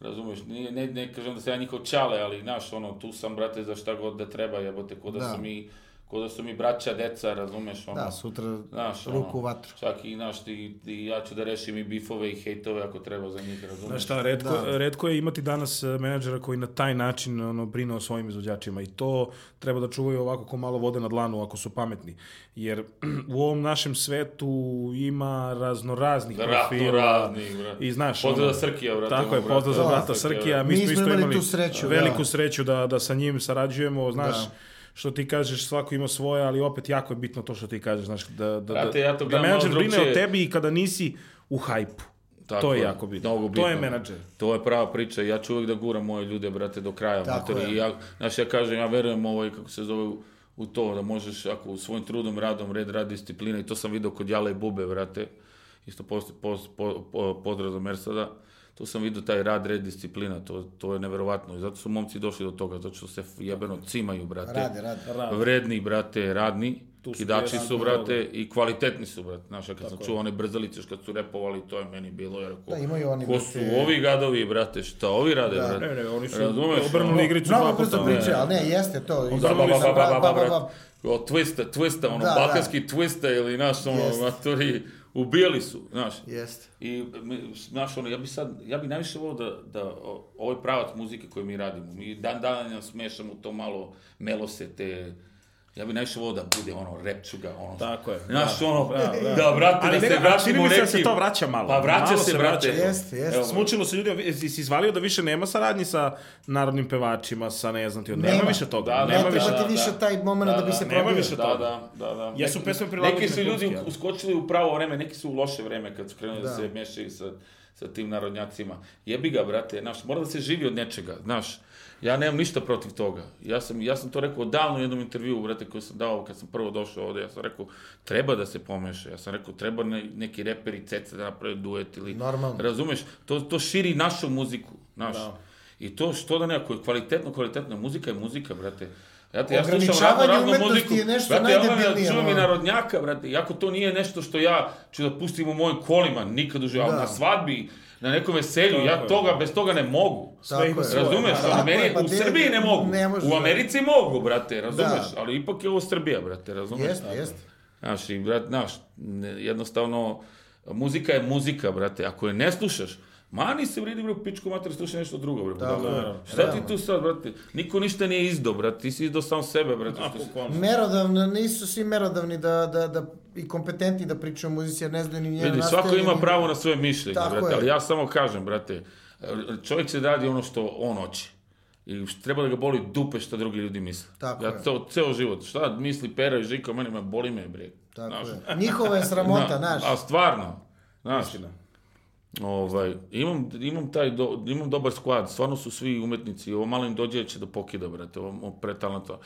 Speaker 3: razumeš, nije, ne, ne kažem da sam ja njihov čale, ali znaš, ono, tu sam, brate, za šta god da treba, jebote, ko da,
Speaker 1: Da.
Speaker 3: su mi, ko da su mi braća, deca, razumeš, ono.
Speaker 1: Da, sutra
Speaker 3: Znaš,
Speaker 1: ruku
Speaker 3: ono,
Speaker 1: u vatru.
Speaker 3: Čak i, znaš, ti, ti, ja ću da rešim i bifove i hejtove ako treba za njih, razumiješ?
Speaker 2: Znaš šta, redko, redko je imati danas e, menadžera koji na taj način ono, brine o svojim izvođačima i to treba da čuvaju ovako ko malo vode na dlanu ako su pametni. Jer u ovom našem svetu ima raznoraznih
Speaker 3: Ratno
Speaker 2: profila.
Speaker 3: razni, brate.
Speaker 2: I znaš,
Speaker 3: Pozdrav
Speaker 2: ono-
Speaker 3: za Srkija, brate.
Speaker 2: Tako je,
Speaker 3: moj
Speaker 2: pozdrav za
Speaker 1: Da.
Speaker 2: brata Srkija. Mi,
Speaker 1: Mi
Speaker 2: smo
Speaker 1: smo
Speaker 2: isto
Speaker 1: imali
Speaker 2: imali
Speaker 1: tu sreću,
Speaker 2: veliku
Speaker 1: da.
Speaker 2: sreću da, da sa njim sarađujemo, znaš,
Speaker 1: Da.
Speaker 2: što ti kažeš, svako ima svoje, ali opet jako je bitno to što ti kažeš, znaš, da, da,
Speaker 3: Brate,
Speaker 2: da,
Speaker 3: ja to
Speaker 2: da
Speaker 3: gledam malo
Speaker 2: menadžer brine
Speaker 3: drugčije.
Speaker 2: o tebi i kada nisi u hajpu.
Speaker 3: Tako
Speaker 2: to je jako bitno.
Speaker 3: mnogo
Speaker 2: To je
Speaker 3: bitno.
Speaker 2: menadžer.
Speaker 3: To je prava priča. Ja ću uvek da guram moje ljude, brate, do kraja.
Speaker 1: Tako
Speaker 3: mater.
Speaker 1: je.
Speaker 3: I ja, znaš, ja kažem, ja verujem ovaj, kako se zove, u- u to da možeš, ako u svojim trudom, radom, red, rad, disciplina, i to sam video kod Jale i Bube, brate, isto post, post, po, po, pozdrav za Mersada, tu sam vidio taj rad, red, disciplina, to, to je neverovatno. I zato su momci došli do toga, zato što se f- jebeno cimaju, brate.
Speaker 1: Rade, rade.
Speaker 3: Vredni, brate, radni,
Speaker 2: Tu su
Speaker 3: kidači
Speaker 2: bili
Speaker 3: su,
Speaker 2: radni
Speaker 3: brate, i kvalitetni su, brate. Znaš, ja kad sam čuo one brzalice što kad su repovali, to je meni bilo, jer ko,
Speaker 1: Da, imaju oni,
Speaker 3: ko su
Speaker 1: brate-
Speaker 3: ovi gadovi, brate, šta ovi rade,
Speaker 1: Da.
Speaker 3: brate?
Speaker 2: Ne, ne, oni su
Speaker 3: Razumeš,
Speaker 2: obrnuli
Speaker 3: ono?
Speaker 2: igricu
Speaker 1: Mnogo
Speaker 2: dva puta,
Speaker 1: brzo
Speaker 2: ono.
Speaker 1: priče, ali ne, jeste to.
Speaker 3: Ba, ba, ba, ba, ba, ba, brate.
Speaker 1: ba.
Speaker 3: O, twista, twista, ono,
Speaker 1: Da, da.
Speaker 3: balkanski twista ili, znaš, ono,
Speaker 1: Jeste.
Speaker 3: matori, ubijali su, znaš.
Speaker 1: Jeste.
Speaker 3: I, mi- znaš, ono, ja bi sad, ja bi najviše volio da, da o- ovo je pravac muzike koju mi radimo. Mi dan danas smešamo to malo melosete, ja bi najviše volio da bude ono rap čuga, ono.
Speaker 2: Tako je,
Speaker 3: Znaš,
Speaker 2: da,
Speaker 3: ono,
Speaker 2: da,
Speaker 3: da,
Speaker 2: da.
Speaker 3: brate,
Speaker 2: Ali ne,
Speaker 3: da se
Speaker 2: a čini
Speaker 3: vratimo
Speaker 2: mi se da
Speaker 3: nekim-
Speaker 2: se to vraća malo.
Speaker 3: Pa vraća
Speaker 2: Malo
Speaker 3: se,
Speaker 2: se
Speaker 3: brate.
Speaker 2: vraća.
Speaker 1: Jeste, jeste.
Speaker 3: Evo,
Speaker 2: Smučilo se ljudi, jesi- si izvalio da više nema saradnji sa narodnim pevačima, sa ne znam ti, od-
Speaker 1: Nema.
Speaker 2: nema više toga.
Speaker 3: Da,
Speaker 2: nema
Speaker 1: Ne
Speaker 2: više.
Speaker 1: treba ti više taj moment da bi se
Speaker 2: nema
Speaker 1: probio.
Speaker 2: više
Speaker 3: da,
Speaker 2: toga.
Speaker 3: Da, da, da.
Speaker 2: Jesu
Speaker 3: Neki-
Speaker 2: pesme prilagođene
Speaker 3: Neki su ljudi
Speaker 2: kultki, ali.
Speaker 3: uskočili u pravo vreme, neki su u loše vreme kad su krenuli da,
Speaker 1: Da.
Speaker 3: se mešaju sa, sa tim narodnjacima. Jebi ga, brate, znaš, mora da se živi od nečega, znaš. Ja nemam ništa protiv toga. Ja sam, ja sam to rekao davno u jednom intervjuu, brate, koji sam dao kad sam prvo došao ovde. Ja sam rekao, treba da se pomeša. Ja sam rekao, treba ne- neki reper i ceca da naprave duet ili...
Speaker 1: Normalno.
Speaker 3: Razumeš? To, to širi našu muziku, znaš. I to što da ne, ako je kvalitetno, kvalitetna muzika je muzika, brate. Ja te, ja slušam razno,
Speaker 1: Ograničavanje
Speaker 3: razno
Speaker 1: umetnosti
Speaker 3: muziku.
Speaker 1: je nešto
Speaker 3: brate, ja volim da
Speaker 1: najdebilnije,
Speaker 3: čuvam i
Speaker 1: ono.
Speaker 3: narodnjaka, brate. Iako to nije nešto što ja ću da pustim u mojim kolima, nikad u životu.
Speaker 1: Da.
Speaker 3: Na svadbi, na nekom veselju, ja
Speaker 2: je.
Speaker 3: toga, bez toga ne mogu.
Speaker 1: Tako je.
Speaker 2: Sve ima
Speaker 3: Razumeš?
Speaker 1: Tako
Speaker 3: ono,
Speaker 1: je,
Speaker 3: meni,
Speaker 1: pa
Speaker 3: u
Speaker 1: te-
Speaker 3: Srbiji ne mogu.
Speaker 1: ne može,
Speaker 3: u
Speaker 1: da.
Speaker 3: Americi mogu, brate, razumeš?
Speaker 1: Da.
Speaker 3: Ali ipak je ovo Srbija, brate, razumeš?
Speaker 1: Jeste, jeste.
Speaker 3: Znaš, i brat, znaš, ne- jednostavno, muzika je muzika, brate. Ako je ne slušaš, mani se vredi, bre, u pičku mater, slušaj nešto drugo, bre. budalo.
Speaker 1: Tako je.
Speaker 3: Šta ti tu sad, brate? Niko ništa nije izdo, brate. Ti si izdo sam sebe, brate. što si-
Speaker 1: Merodavno, nisu svi merodavni da, da, da, i kompetentni da pričaju o muzici, jer ne znaju ni njeno
Speaker 3: Vidi, svako ima pravo na svoje mišljenje,
Speaker 1: Tako
Speaker 3: brate,
Speaker 1: je.
Speaker 3: ali ja samo kažem, brate, r- čovjek se radi ono što on hoće. I š- treba da ga boli dupe šta drugi ljudi misle.
Speaker 1: Tako
Speaker 3: ja
Speaker 1: je.
Speaker 3: to ceo život, šta misli Pera i Žika, o meni me boli me, bre.
Speaker 1: Tako
Speaker 3: Znaš,
Speaker 1: je. Njihova je sramota,
Speaker 3: na-
Speaker 1: znaš.
Speaker 3: A stvarno, znaš, ovaj, imam, imam, taj do- imam dobar sklad, stvarno su svi umetnici, ovo malo im dođe će da pokida, brate, ovo, ovo pretalento.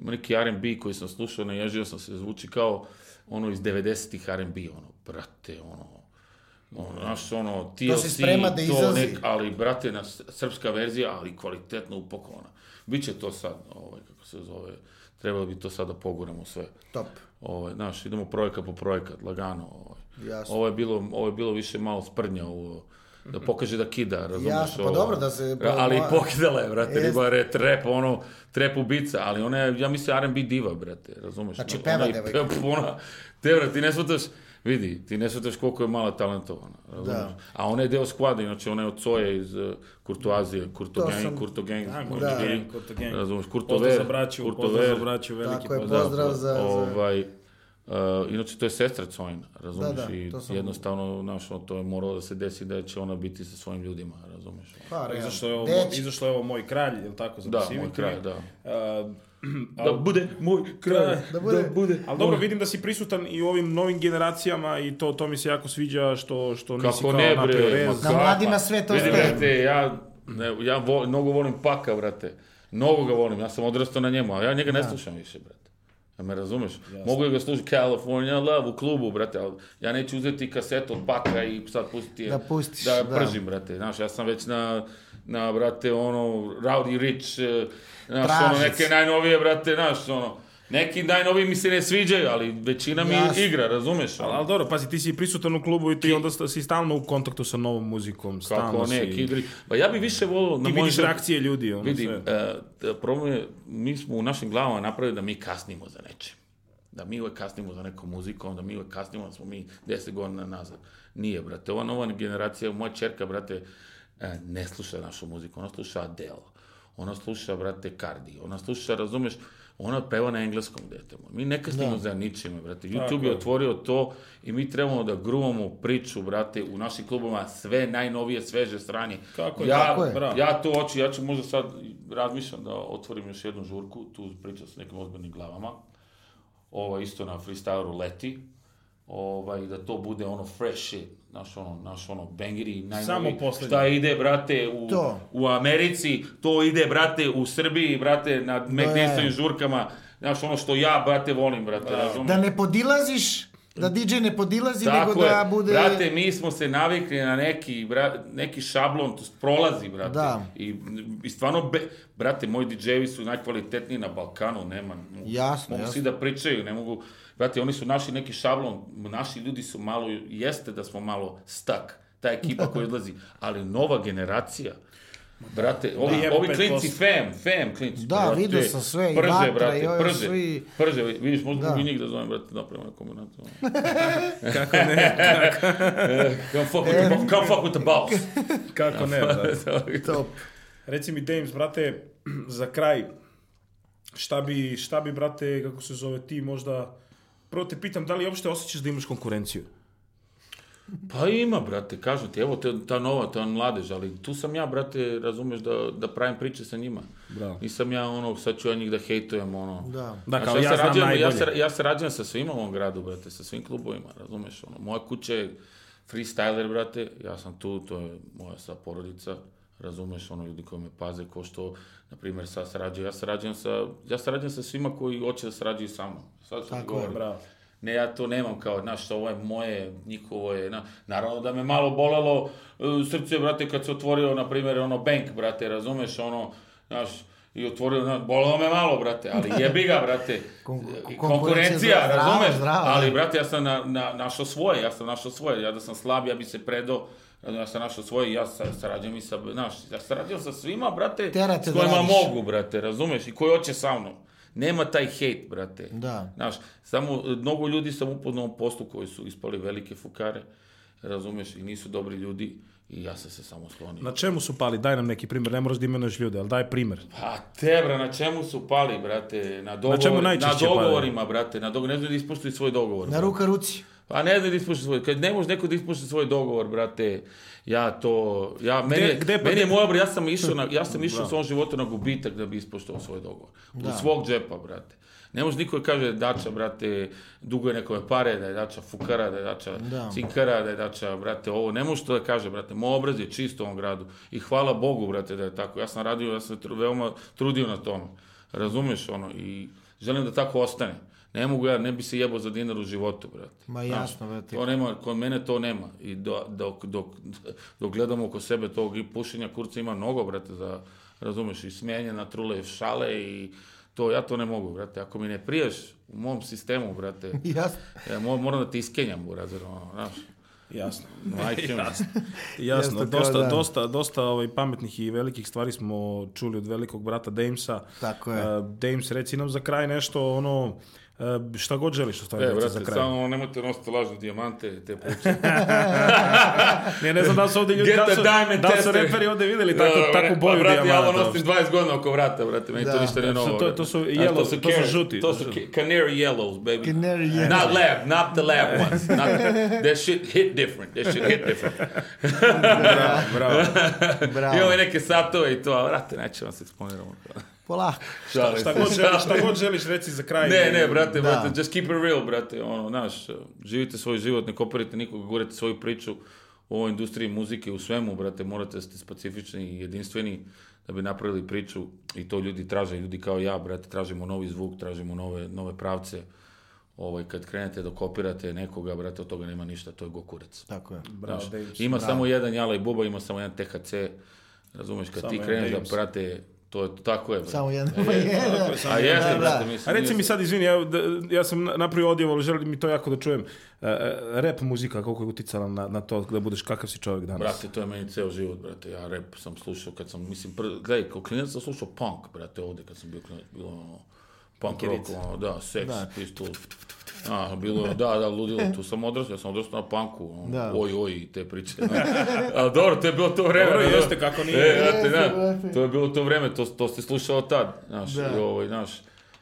Speaker 3: Ima neki R&B koji sam slušao, naježio sam se, zvuči kao ono iz 90-ih R&B, ono, brate, ono, ono, znaš, ono, TLC,
Speaker 1: se sprema da
Speaker 3: to
Speaker 1: izlazi.
Speaker 3: nek, ali, brate, na s- srpska verzija, ali kvalitetno upakovana. Biće to sad, ovaj, kako se zove, trebalo bi to sad da poguramo sve.
Speaker 1: Top.
Speaker 3: Ovaj, znaš, idemo projekat po projekat, lagano. Ovaj.
Speaker 1: Jasno.
Speaker 3: Ovo je bilo, ovo je bilo više malo sprnja u, da pokaže da kida, razumiješ?
Speaker 1: Jasno, pa dobro da se-
Speaker 3: Ra- Ali
Speaker 1: pa-
Speaker 3: pokidala je, brate,
Speaker 1: Jest.
Speaker 3: riba je re- trep, ono, trep ubica, ali ona je, ja mislim, R&B diva, brate, razumiješ?
Speaker 1: Znači,
Speaker 3: Ona-
Speaker 1: peva
Speaker 3: ona i
Speaker 1: devojka.
Speaker 3: pe- Ona, te, brate, ti ne shvataš, vidi, ti ne shvataš koliko je mala talentovana, razumiješ?
Speaker 1: Da.
Speaker 3: A ona je deo skvada, inače, ona je od Coje iz uh, Kurtoazije, Kurto
Speaker 1: To
Speaker 3: Gang,
Speaker 1: sam-
Speaker 3: Kurto Gang,
Speaker 2: Kurto
Speaker 1: Da.
Speaker 3: Да.
Speaker 2: Gang, Kurto Gang.
Speaker 3: razumiješ, Kurto
Speaker 2: Pozdrav za
Speaker 3: Ver,
Speaker 2: braću,
Speaker 3: Kurto
Speaker 2: pozdrav za
Speaker 3: Ver.
Speaker 2: braću, veliki
Speaker 1: Tako je,
Speaker 2: pozdrav.
Speaker 1: pozdrav za- za-
Speaker 3: Ovaj, uh, inače, to je sestra Cojna, razumiješ?
Speaker 1: Da, da,
Speaker 3: I
Speaker 1: to sam-
Speaker 3: jednostavno, znaš, ono, to je moralo da se desi da će ona biti sa svojim ljudima, razumiješ?
Speaker 1: Pa, realno.
Speaker 2: Izašlo je, ovo,
Speaker 1: Dečki.
Speaker 2: izašlo je ovo Moj kralj, je li tako? Za
Speaker 3: Da,
Speaker 2: Pacific
Speaker 3: moj
Speaker 2: Rim?
Speaker 3: kraj, da.
Speaker 2: A,
Speaker 3: Da bude moj kraj,
Speaker 1: Da bude-
Speaker 2: Ali dobro, vidim da si prisutan i u ovim novim generacijama i to, to mi se jako sviđa što, što nisi
Speaker 3: Kako
Speaker 2: kao
Speaker 3: ne,
Speaker 2: napravio
Speaker 3: bre,
Speaker 2: rez.
Speaker 3: ma
Speaker 1: Na
Speaker 3: kak-
Speaker 1: mladima sve to
Speaker 3: Vidi,
Speaker 1: ostaje.
Speaker 3: brate, ja, ne, ja vo, mnogo volim Paka, brate. Mnogo ga volim, ja sam odrastao na njemu, a ja njega ne slušam više, brate. Ja me razumeš? Mogu da ga slušati California Love u klubu, brate, ali ja neću uzeti kasetu od Paka i sad pustiti je.
Speaker 1: Da pustiš,
Speaker 3: da
Speaker 1: da.
Speaker 3: pržim, brate. Znaš, ja sam već na, na brate, ono, Rowdy Rich, eh, znaš, ono,
Speaker 1: Tražic.
Speaker 3: neke najnovije, brate, znaš, ono, neki najnoviji mi se ne sviđaju, ali većina mi
Speaker 1: Jasno.
Speaker 3: igra, razumeš?
Speaker 2: Ali,
Speaker 3: ono.
Speaker 2: ali dobro, pazi, ti si prisutan u klubu i ti onda sta- si stalno u kontaktu sa novom muzikom. Stalno
Speaker 3: Kako ne,
Speaker 2: si,
Speaker 3: Kidri. Pa ja bi više volio na
Speaker 2: Ti
Speaker 3: moj
Speaker 2: vidiš
Speaker 3: život-
Speaker 2: reakcije ljudi, ono
Speaker 3: Vidi,
Speaker 2: sve.
Speaker 3: e, t- problem je, mi smo u našim glavama napravili da mi kasnimo za nečim. Da mi uvek kasnimo za nekom muzikom, da mi uvek kasnimo, da smo mi deset godina nazad. Nije, brate. Ova nova generacija, moja čerka, brate, e, ne sluša našu muziku. Ona sluša Adele. Ona sluša, brate, Cardi. Ona sluša, razumeš, ona peva na engleskom, dete moje. Mi ne kasnimo za ničime, brate. YouTube
Speaker 2: Tako
Speaker 3: je
Speaker 2: je.
Speaker 3: otvorio to i mi trebamo da gruvamo priču, brate, u našim klubovima sve najnovije, sveže stranje.
Speaker 2: Kako je,
Speaker 3: ja,
Speaker 2: tako
Speaker 1: je.
Speaker 2: Bravo.
Speaker 3: ja to hoću, ja ću možda sad, razmišljam da otvorim još jednu žurku, tu pričam s nekim ozbiljnim glavama, ovo isto na freestyleru leti, ovaj, da to bude ono fresh shit, naš ono, naš ono bangeri, najnoviji,
Speaker 2: poslednji.
Speaker 3: šta ide, brate, u,
Speaker 1: To.
Speaker 3: u Americi, to ide, brate, u Srbiji, brate, na McNeesovim žurkama, znaš, ono što ja, brate, volim, brate, razumiješ?
Speaker 1: Da ne podilaziš, da DJ ne podilazi,
Speaker 3: Tako
Speaker 1: nego da
Speaker 3: je.
Speaker 1: bude...
Speaker 3: Brate, mi smo se navikli na neki, bra- neki šablon, to jest prolazi, brate.
Speaker 1: Da.
Speaker 3: I, I stvarno, be- brate, moji DJ-vi su najkvalitetniji na Balkanu, nema.
Speaker 1: Jasno,
Speaker 3: Mogu
Speaker 1: jasno.
Speaker 3: svi da pričaju, ne mogu... Brate, oni su našli neki šablon, naši ljudi su malo, jeste da smo malo stuck, ta ekipa koja odlazi, ali nova generacija, Brate, ovi,
Speaker 2: Da.
Speaker 3: ovi klinci, fam, fam klinci.
Speaker 1: Da,
Speaker 3: brate,
Speaker 1: vidio sam sve, i
Speaker 3: Prže,
Speaker 1: Vatra,
Speaker 3: brate,
Speaker 1: i ovi
Speaker 3: prže,
Speaker 1: svi.
Speaker 3: prže, vidiš, možda
Speaker 1: Da.
Speaker 3: mogu i njih da zovem, brate, napravimo na kombinaciju.
Speaker 2: Kako ne,
Speaker 3: Come fuck with the, bo- come fuck with the boss.
Speaker 2: kako ne, brate.
Speaker 1: Top.
Speaker 2: Reci mi, James, brate, za kraj, šta bi, šta bi, brate, kako se zove ti možda... Prvo te pitam, da li uopšte osjećaš da imaš konkurenciju?
Speaker 3: pa ima, brate, kažem ti, evo te, ta nova, ta mladež, ali tu sam ja, brate, razumeš da, da pravim priče sa njima.
Speaker 2: Bravo.
Speaker 3: Nisam ja ono, sad ću ja njih da hejtujem, ono.
Speaker 1: Da.
Speaker 2: Da,
Speaker 3: Znaš,
Speaker 2: kao ja,
Speaker 3: se
Speaker 2: znam
Speaker 3: rađujem-
Speaker 2: najbolje.
Speaker 3: ja, se, ja se rađujem sa svima u ovom gradu, brate, sa svim klubovima, razumeš, ono, moja kuća je freestyler, brate, ja sam tu, to je moja sva porodica, razumeš, ono, ljudi koji me paze, ko što, na primjer, sad sarađuju, ja sarađujem sa, ja sarađujem sa svima koji hoće da sarađuju sa mnom, sad što
Speaker 1: Tako
Speaker 3: ti
Speaker 1: je,
Speaker 3: govorim.
Speaker 2: Bravo.
Speaker 3: Ne, ja to nemam kao, znaš, ovo je moje, njihovo je, na, naravno da me malo bolelo e, srce, brate, kad se otvorio, na primjer, ono, bank, brate, razumeš, ono, znaš, i otvorio, na, bolelo me malo, brate, ali jebi ga, brate,
Speaker 1: Kon-
Speaker 3: E,
Speaker 1: konkurencija,
Speaker 3: konkurencija,
Speaker 1: zdravo,
Speaker 3: razumeš,
Speaker 1: zdravo.
Speaker 3: ali, brate, ja sam na, na, našao svoje, ja sam našao svoje, ja da sam slab, ja bi se predao, ja sam našao svoje, ja sa, sarađujem i sa, znaš, ja sarađujem sa svima, brate,
Speaker 1: Tera te
Speaker 3: s
Speaker 1: da
Speaker 3: kojima
Speaker 1: radiš.
Speaker 3: mogu, brate, razumeš, i koji hoće sa mnom. Nema taj hejt, brate.
Speaker 1: Da.
Speaker 3: Znaš, samo e, mnogo ljudi sam upoznao u poslu koji su ispali velike fukare, razumeš, i nisu dobri ljudi i ja sam se samo slonio.
Speaker 2: Na čemu su pali? Daj nam neki primjer, ne moraš da imenuješ ljude, ali daj primjer.
Speaker 3: Pa te, bra, na čemu su pali, brate? Na, dogovor,
Speaker 2: čemu najčešće pali?
Speaker 3: dogovorima, brate. Na dogo- ne znaju da ispoštuju svoj dogovor.
Speaker 1: Na
Speaker 3: brate.
Speaker 1: ruka ruci.
Speaker 3: Pa ne znaju da ispoštuju svoj. Kad ne može neko da ispoštuje svoj dogovor, brate, ja to... Ja, meni, je-
Speaker 2: gde pa-
Speaker 3: meni je moja, bra, ja sam išao, na, ja sam išao u svom životu na gubitak da bi ispoštovao svoj dogovor. Od svog džepa, brate. Ne može niko da kaže da je dača, brate, duguje nekome pare, da je dača fukara, da je dača
Speaker 1: Da.
Speaker 3: cinkara, da je dača, brate, ovo. Ne može to da kaže, brate. Moj obraz je čist u ovom gradu. I hvala Bogu, brate, da je tako. Ja sam radio, ja sam se tru- veoma trudio na tome. Razumeš ono i želim da tako ostane. Ne mogu ja, ne bi se jebao za dinar u životu, brate.
Speaker 1: Ma
Speaker 3: Znaš,
Speaker 1: jasno, brate.
Speaker 3: To nema, kod mene to nema. I do, dok, dok, dok gledamo oko sebe tog i pušenja kurca ima mnogo, brate, za, razumeš, i smenje na trule šale i to, ja to ne mogu, brate. Ako mi ne prijaš u mom sistemu, brate,
Speaker 1: Jasno.
Speaker 3: ja mo- moram da te iskenjam, brate, ono, znaš.
Speaker 2: Jasno.
Speaker 3: Majke mi. E,
Speaker 2: Jasno,
Speaker 1: Jeste kao
Speaker 2: dosta,
Speaker 1: dan.
Speaker 2: dosta, dosta ovaj, pametnih i velikih stvari smo čuli od velikog brata Damesa.
Speaker 1: Tako je.
Speaker 2: Uh, Dames, reci nam za kraj nešto, ono, uh, šta god želiš u stvari
Speaker 3: E,
Speaker 2: reći za
Speaker 3: brate,
Speaker 2: kraj.
Speaker 3: samo ono, nemojte nositi lažne dijamante, te priče.
Speaker 2: Ne, ne znam da li su ovdje ljudi, da li su, da li su reperi ovdje vidjeli tako,
Speaker 3: Da,
Speaker 2: takvu
Speaker 3: bre,
Speaker 2: boju
Speaker 3: pa, brate, Ja ovo
Speaker 2: dijamanata.
Speaker 3: nosim 20 godina oko vrata, brate, meni
Speaker 1: Da.
Speaker 3: to ništa nije
Speaker 2: znači, To su-
Speaker 3: novo.
Speaker 2: to-
Speaker 3: brate.
Speaker 2: to su
Speaker 3: Znaš,
Speaker 2: yellow, to su
Speaker 3: canary-
Speaker 2: žuti,
Speaker 3: To
Speaker 2: to
Speaker 3: su
Speaker 2: su-
Speaker 3: ca- canary yellows, baby.
Speaker 1: Canary yellows.
Speaker 3: Not lab, not the lab ones. Not, that shit hit different, that shit hit different.
Speaker 2: Bravo, bravo.
Speaker 1: Bravo.
Speaker 3: Imamo i neke satove i to, a vrate, neće vam se eksponiramo.
Speaker 1: Polako.
Speaker 3: Šalim
Speaker 2: Šta
Speaker 3: se,
Speaker 2: god
Speaker 3: šalim
Speaker 2: želiš, šta god želiš reci za kraj.
Speaker 3: Ne, ne,
Speaker 1: Da.
Speaker 3: brate, brate, just keep it real, brate, ono, znaš, živite svoj život, ne kopirajte nikoga, gurajte svoju priču u ovoj industriji muzike, u svemu, brate, morate da ste specifični i jedinstveni da bi napravili priču i to ljudi traže, ljudi kao ja, brate, tražimo novi zvuk, tražimo nove, nove pravce, ovaj, kad krenete da kopirate nekoga, brate, od toga nema ništa, to je gokurec.
Speaker 1: Tako je.
Speaker 2: Bravo, Dames.
Speaker 3: Ima samo jedan Jala i Buba, ima samo jedan THC, razumeš, kad
Speaker 2: Samo
Speaker 3: ti
Speaker 2: jedan
Speaker 3: kreneš
Speaker 2: Dames.
Speaker 3: da brate, to je, tako je, brate.
Speaker 1: Samo jedan.
Speaker 3: E,
Speaker 1: Jedan.
Speaker 2: je, samo
Speaker 3: A jeste,
Speaker 1: Da,
Speaker 3: brate,
Speaker 1: da.
Speaker 2: A
Speaker 3: mislim.
Speaker 2: reci
Speaker 3: nije-
Speaker 2: mi sad, izvini, ja, da, ja sam na- napravio odjevo, ali želim mi to jako da čujem. E, e, rap muzika, koliko je uticala na, na to da budeš kakav si čovjek danas?
Speaker 3: Brate, to je meni ceo život, brate. Ja rap sam slušao kad sam, mislim, pr... gledaj, kao klinac sam slušao punk, brate, ovde kad sam bio klinac, bilo ono, punk rock, ono, da, sex, da. pistol. A, bilo, je, da, da, ludilo, tu sam odrastao, ja sam odrastao na punku, ono,
Speaker 1: Da.
Speaker 3: oj, oj, i te priče. znaš. A dobro, to je bilo to vreme.
Speaker 2: Dobro,
Speaker 3: znaš.
Speaker 2: jeste, kako nije.
Speaker 3: E, brate,
Speaker 1: Jeste,
Speaker 3: da,
Speaker 1: brate.
Speaker 3: to je bilo to vreme, to, to si slušao tad, znaš, i ovaj, znaš,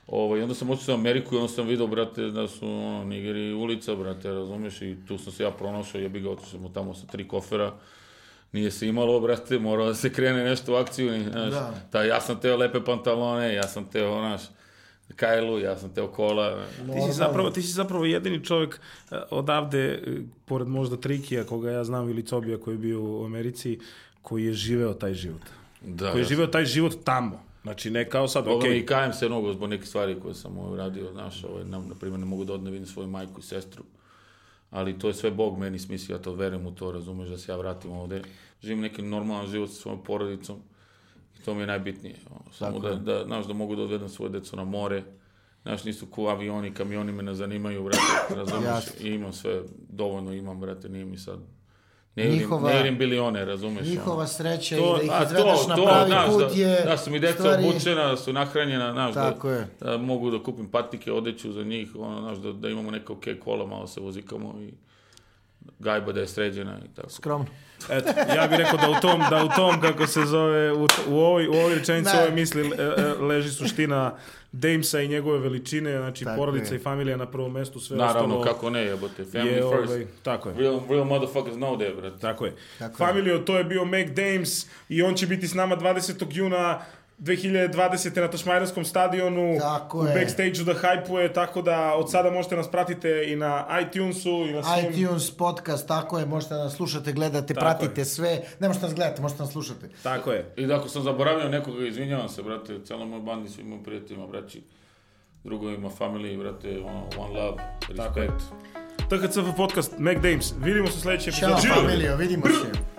Speaker 3: Ovaj, onda sam otišao u Ameriku i onda sam vidio, brate, da su ono, Nigeri ulica, brate, razumiješ, i tu sam se ja pronašao, ja bi ga otišao sam tamo sa tri kofera, nije se imalo, brate, morao da se krene nešto u akciju, ni- znaš,
Speaker 1: Da.
Speaker 3: ta, ja sam teo lepe pantalone, ja sam teo, znaš, Kajlu, ja sam teo kola,
Speaker 2: Ti si, zapravo, ti si zapravo jedini čovjek e, odavde, e, pored možda Trikija, koga ja znam, ili Cobija koji je bio u Americi, koji je živeo taj život.
Speaker 3: da,
Speaker 2: koji je
Speaker 3: ja
Speaker 2: živeo taj život tamo. Znači, ne kao sad,
Speaker 3: Boga
Speaker 2: okej,
Speaker 3: mi i kajem se mnogo zbog nekih stvari koje sam ovaj, radio, znaš, ovaj, na, na primjer ne mogu da odem da vidim svoju majku i sestru, ali to je sve Bog meni smislio, ja to verujem u to, razumeš, da se ja vratim ovde, živim neki normalan život sa svojom porodicom i to mi je najbitnije, ono, samo da, da, znaš, da mogu da odvedem svoje decu na more, znaš, nisu ku avioni, kamioni me ne zanimaju, brate, razumeš,
Speaker 1: Jasno.
Speaker 3: i imam sve, dovoljno imam, brate, nije mi sad, ne vidim,
Speaker 1: Njihova-
Speaker 3: ne vidim bilione, razumeš, ono.
Speaker 1: Njihova sreća
Speaker 3: To-
Speaker 1: i da ih
Speaker 3: a,
Speaker 1: izvedeš
Speaker 3: to-
Speaker 1: na
Speaker 3: to,
Speaker 1: pravi
Speaker 3: znaš,
Speaker 1: put
Speaker 3: da-
Speaker 1: je...
Speaker 3: da su mi deca
Speaker 1: stvari-
Speaker 3: obučena, da su nahranjena, znaš, da-
Speaker 1: Tako je.
Speaker 3: da mogu da kupim patike, odeću za njih, ono, znaš, da- da imamo neka ok kola, malo se vozikamo i gajba da je sređena i tako.
Speaker 1: Skromno.
Speaker 2: Eto, ja bih rekao da u tom, da u tom kako se zove, u, t- u ovoj, u ovoj rečenici, u
Speaker 1: Da.
Speaker 2: ovoj misli e, e, leži suština Damesa i njegove veličine, znači
Speaker 1: Tako
Speaker 2: porodica
Speaker 1: je.
Speaker 2: i familija na prvom mestu, sve
Speaker 3: Naravno,
Speaker 2: ostalo
Speaker 3: kako ne, jebote, family
Speaker 2: je,
Speaker 3: first.
Speaker 2: ovaj, tako je.
Speaker 3: Real- real motherfuckers know that, brate.
Speaker 2: Tako je.
Speaker 1: Tako je.
Speaker 2: Familio, to je bio Mac Dames i on će biti s nama 20. juna 2020. na Tašmajranskom stadionu
Speaker 1: Tako
Speaker 2: u
Speaker 1: je.
Speaker 2: backstage-u da hajpuje, tako da od sada možete nas pratite i na iTunesu i na svim...
Speaker 1: iTunes podcast, tako je, možete nas slušate, gledate,
Speaker 2: Tako
Speaker 1: pratite
Speaker 2: je.
Speaker 1: sve. Ne možete nas gledati, možete nas slušati.
Speaker 2: Tako je.
Speaker 3: I da ako sam zaboravio nekoga, izvinjavam se, brate, celom moj bandi, svim mojim prijateljima, braći, drugovima, familiji, brate, ono, one love, respect.
Speaker 2: THCF podcast Mac Dames. Vidimo se u sljedećem
Speaker 1: Ćao,
Speaker 2: epizodu.
Speaker 1: familijo, vidimo se.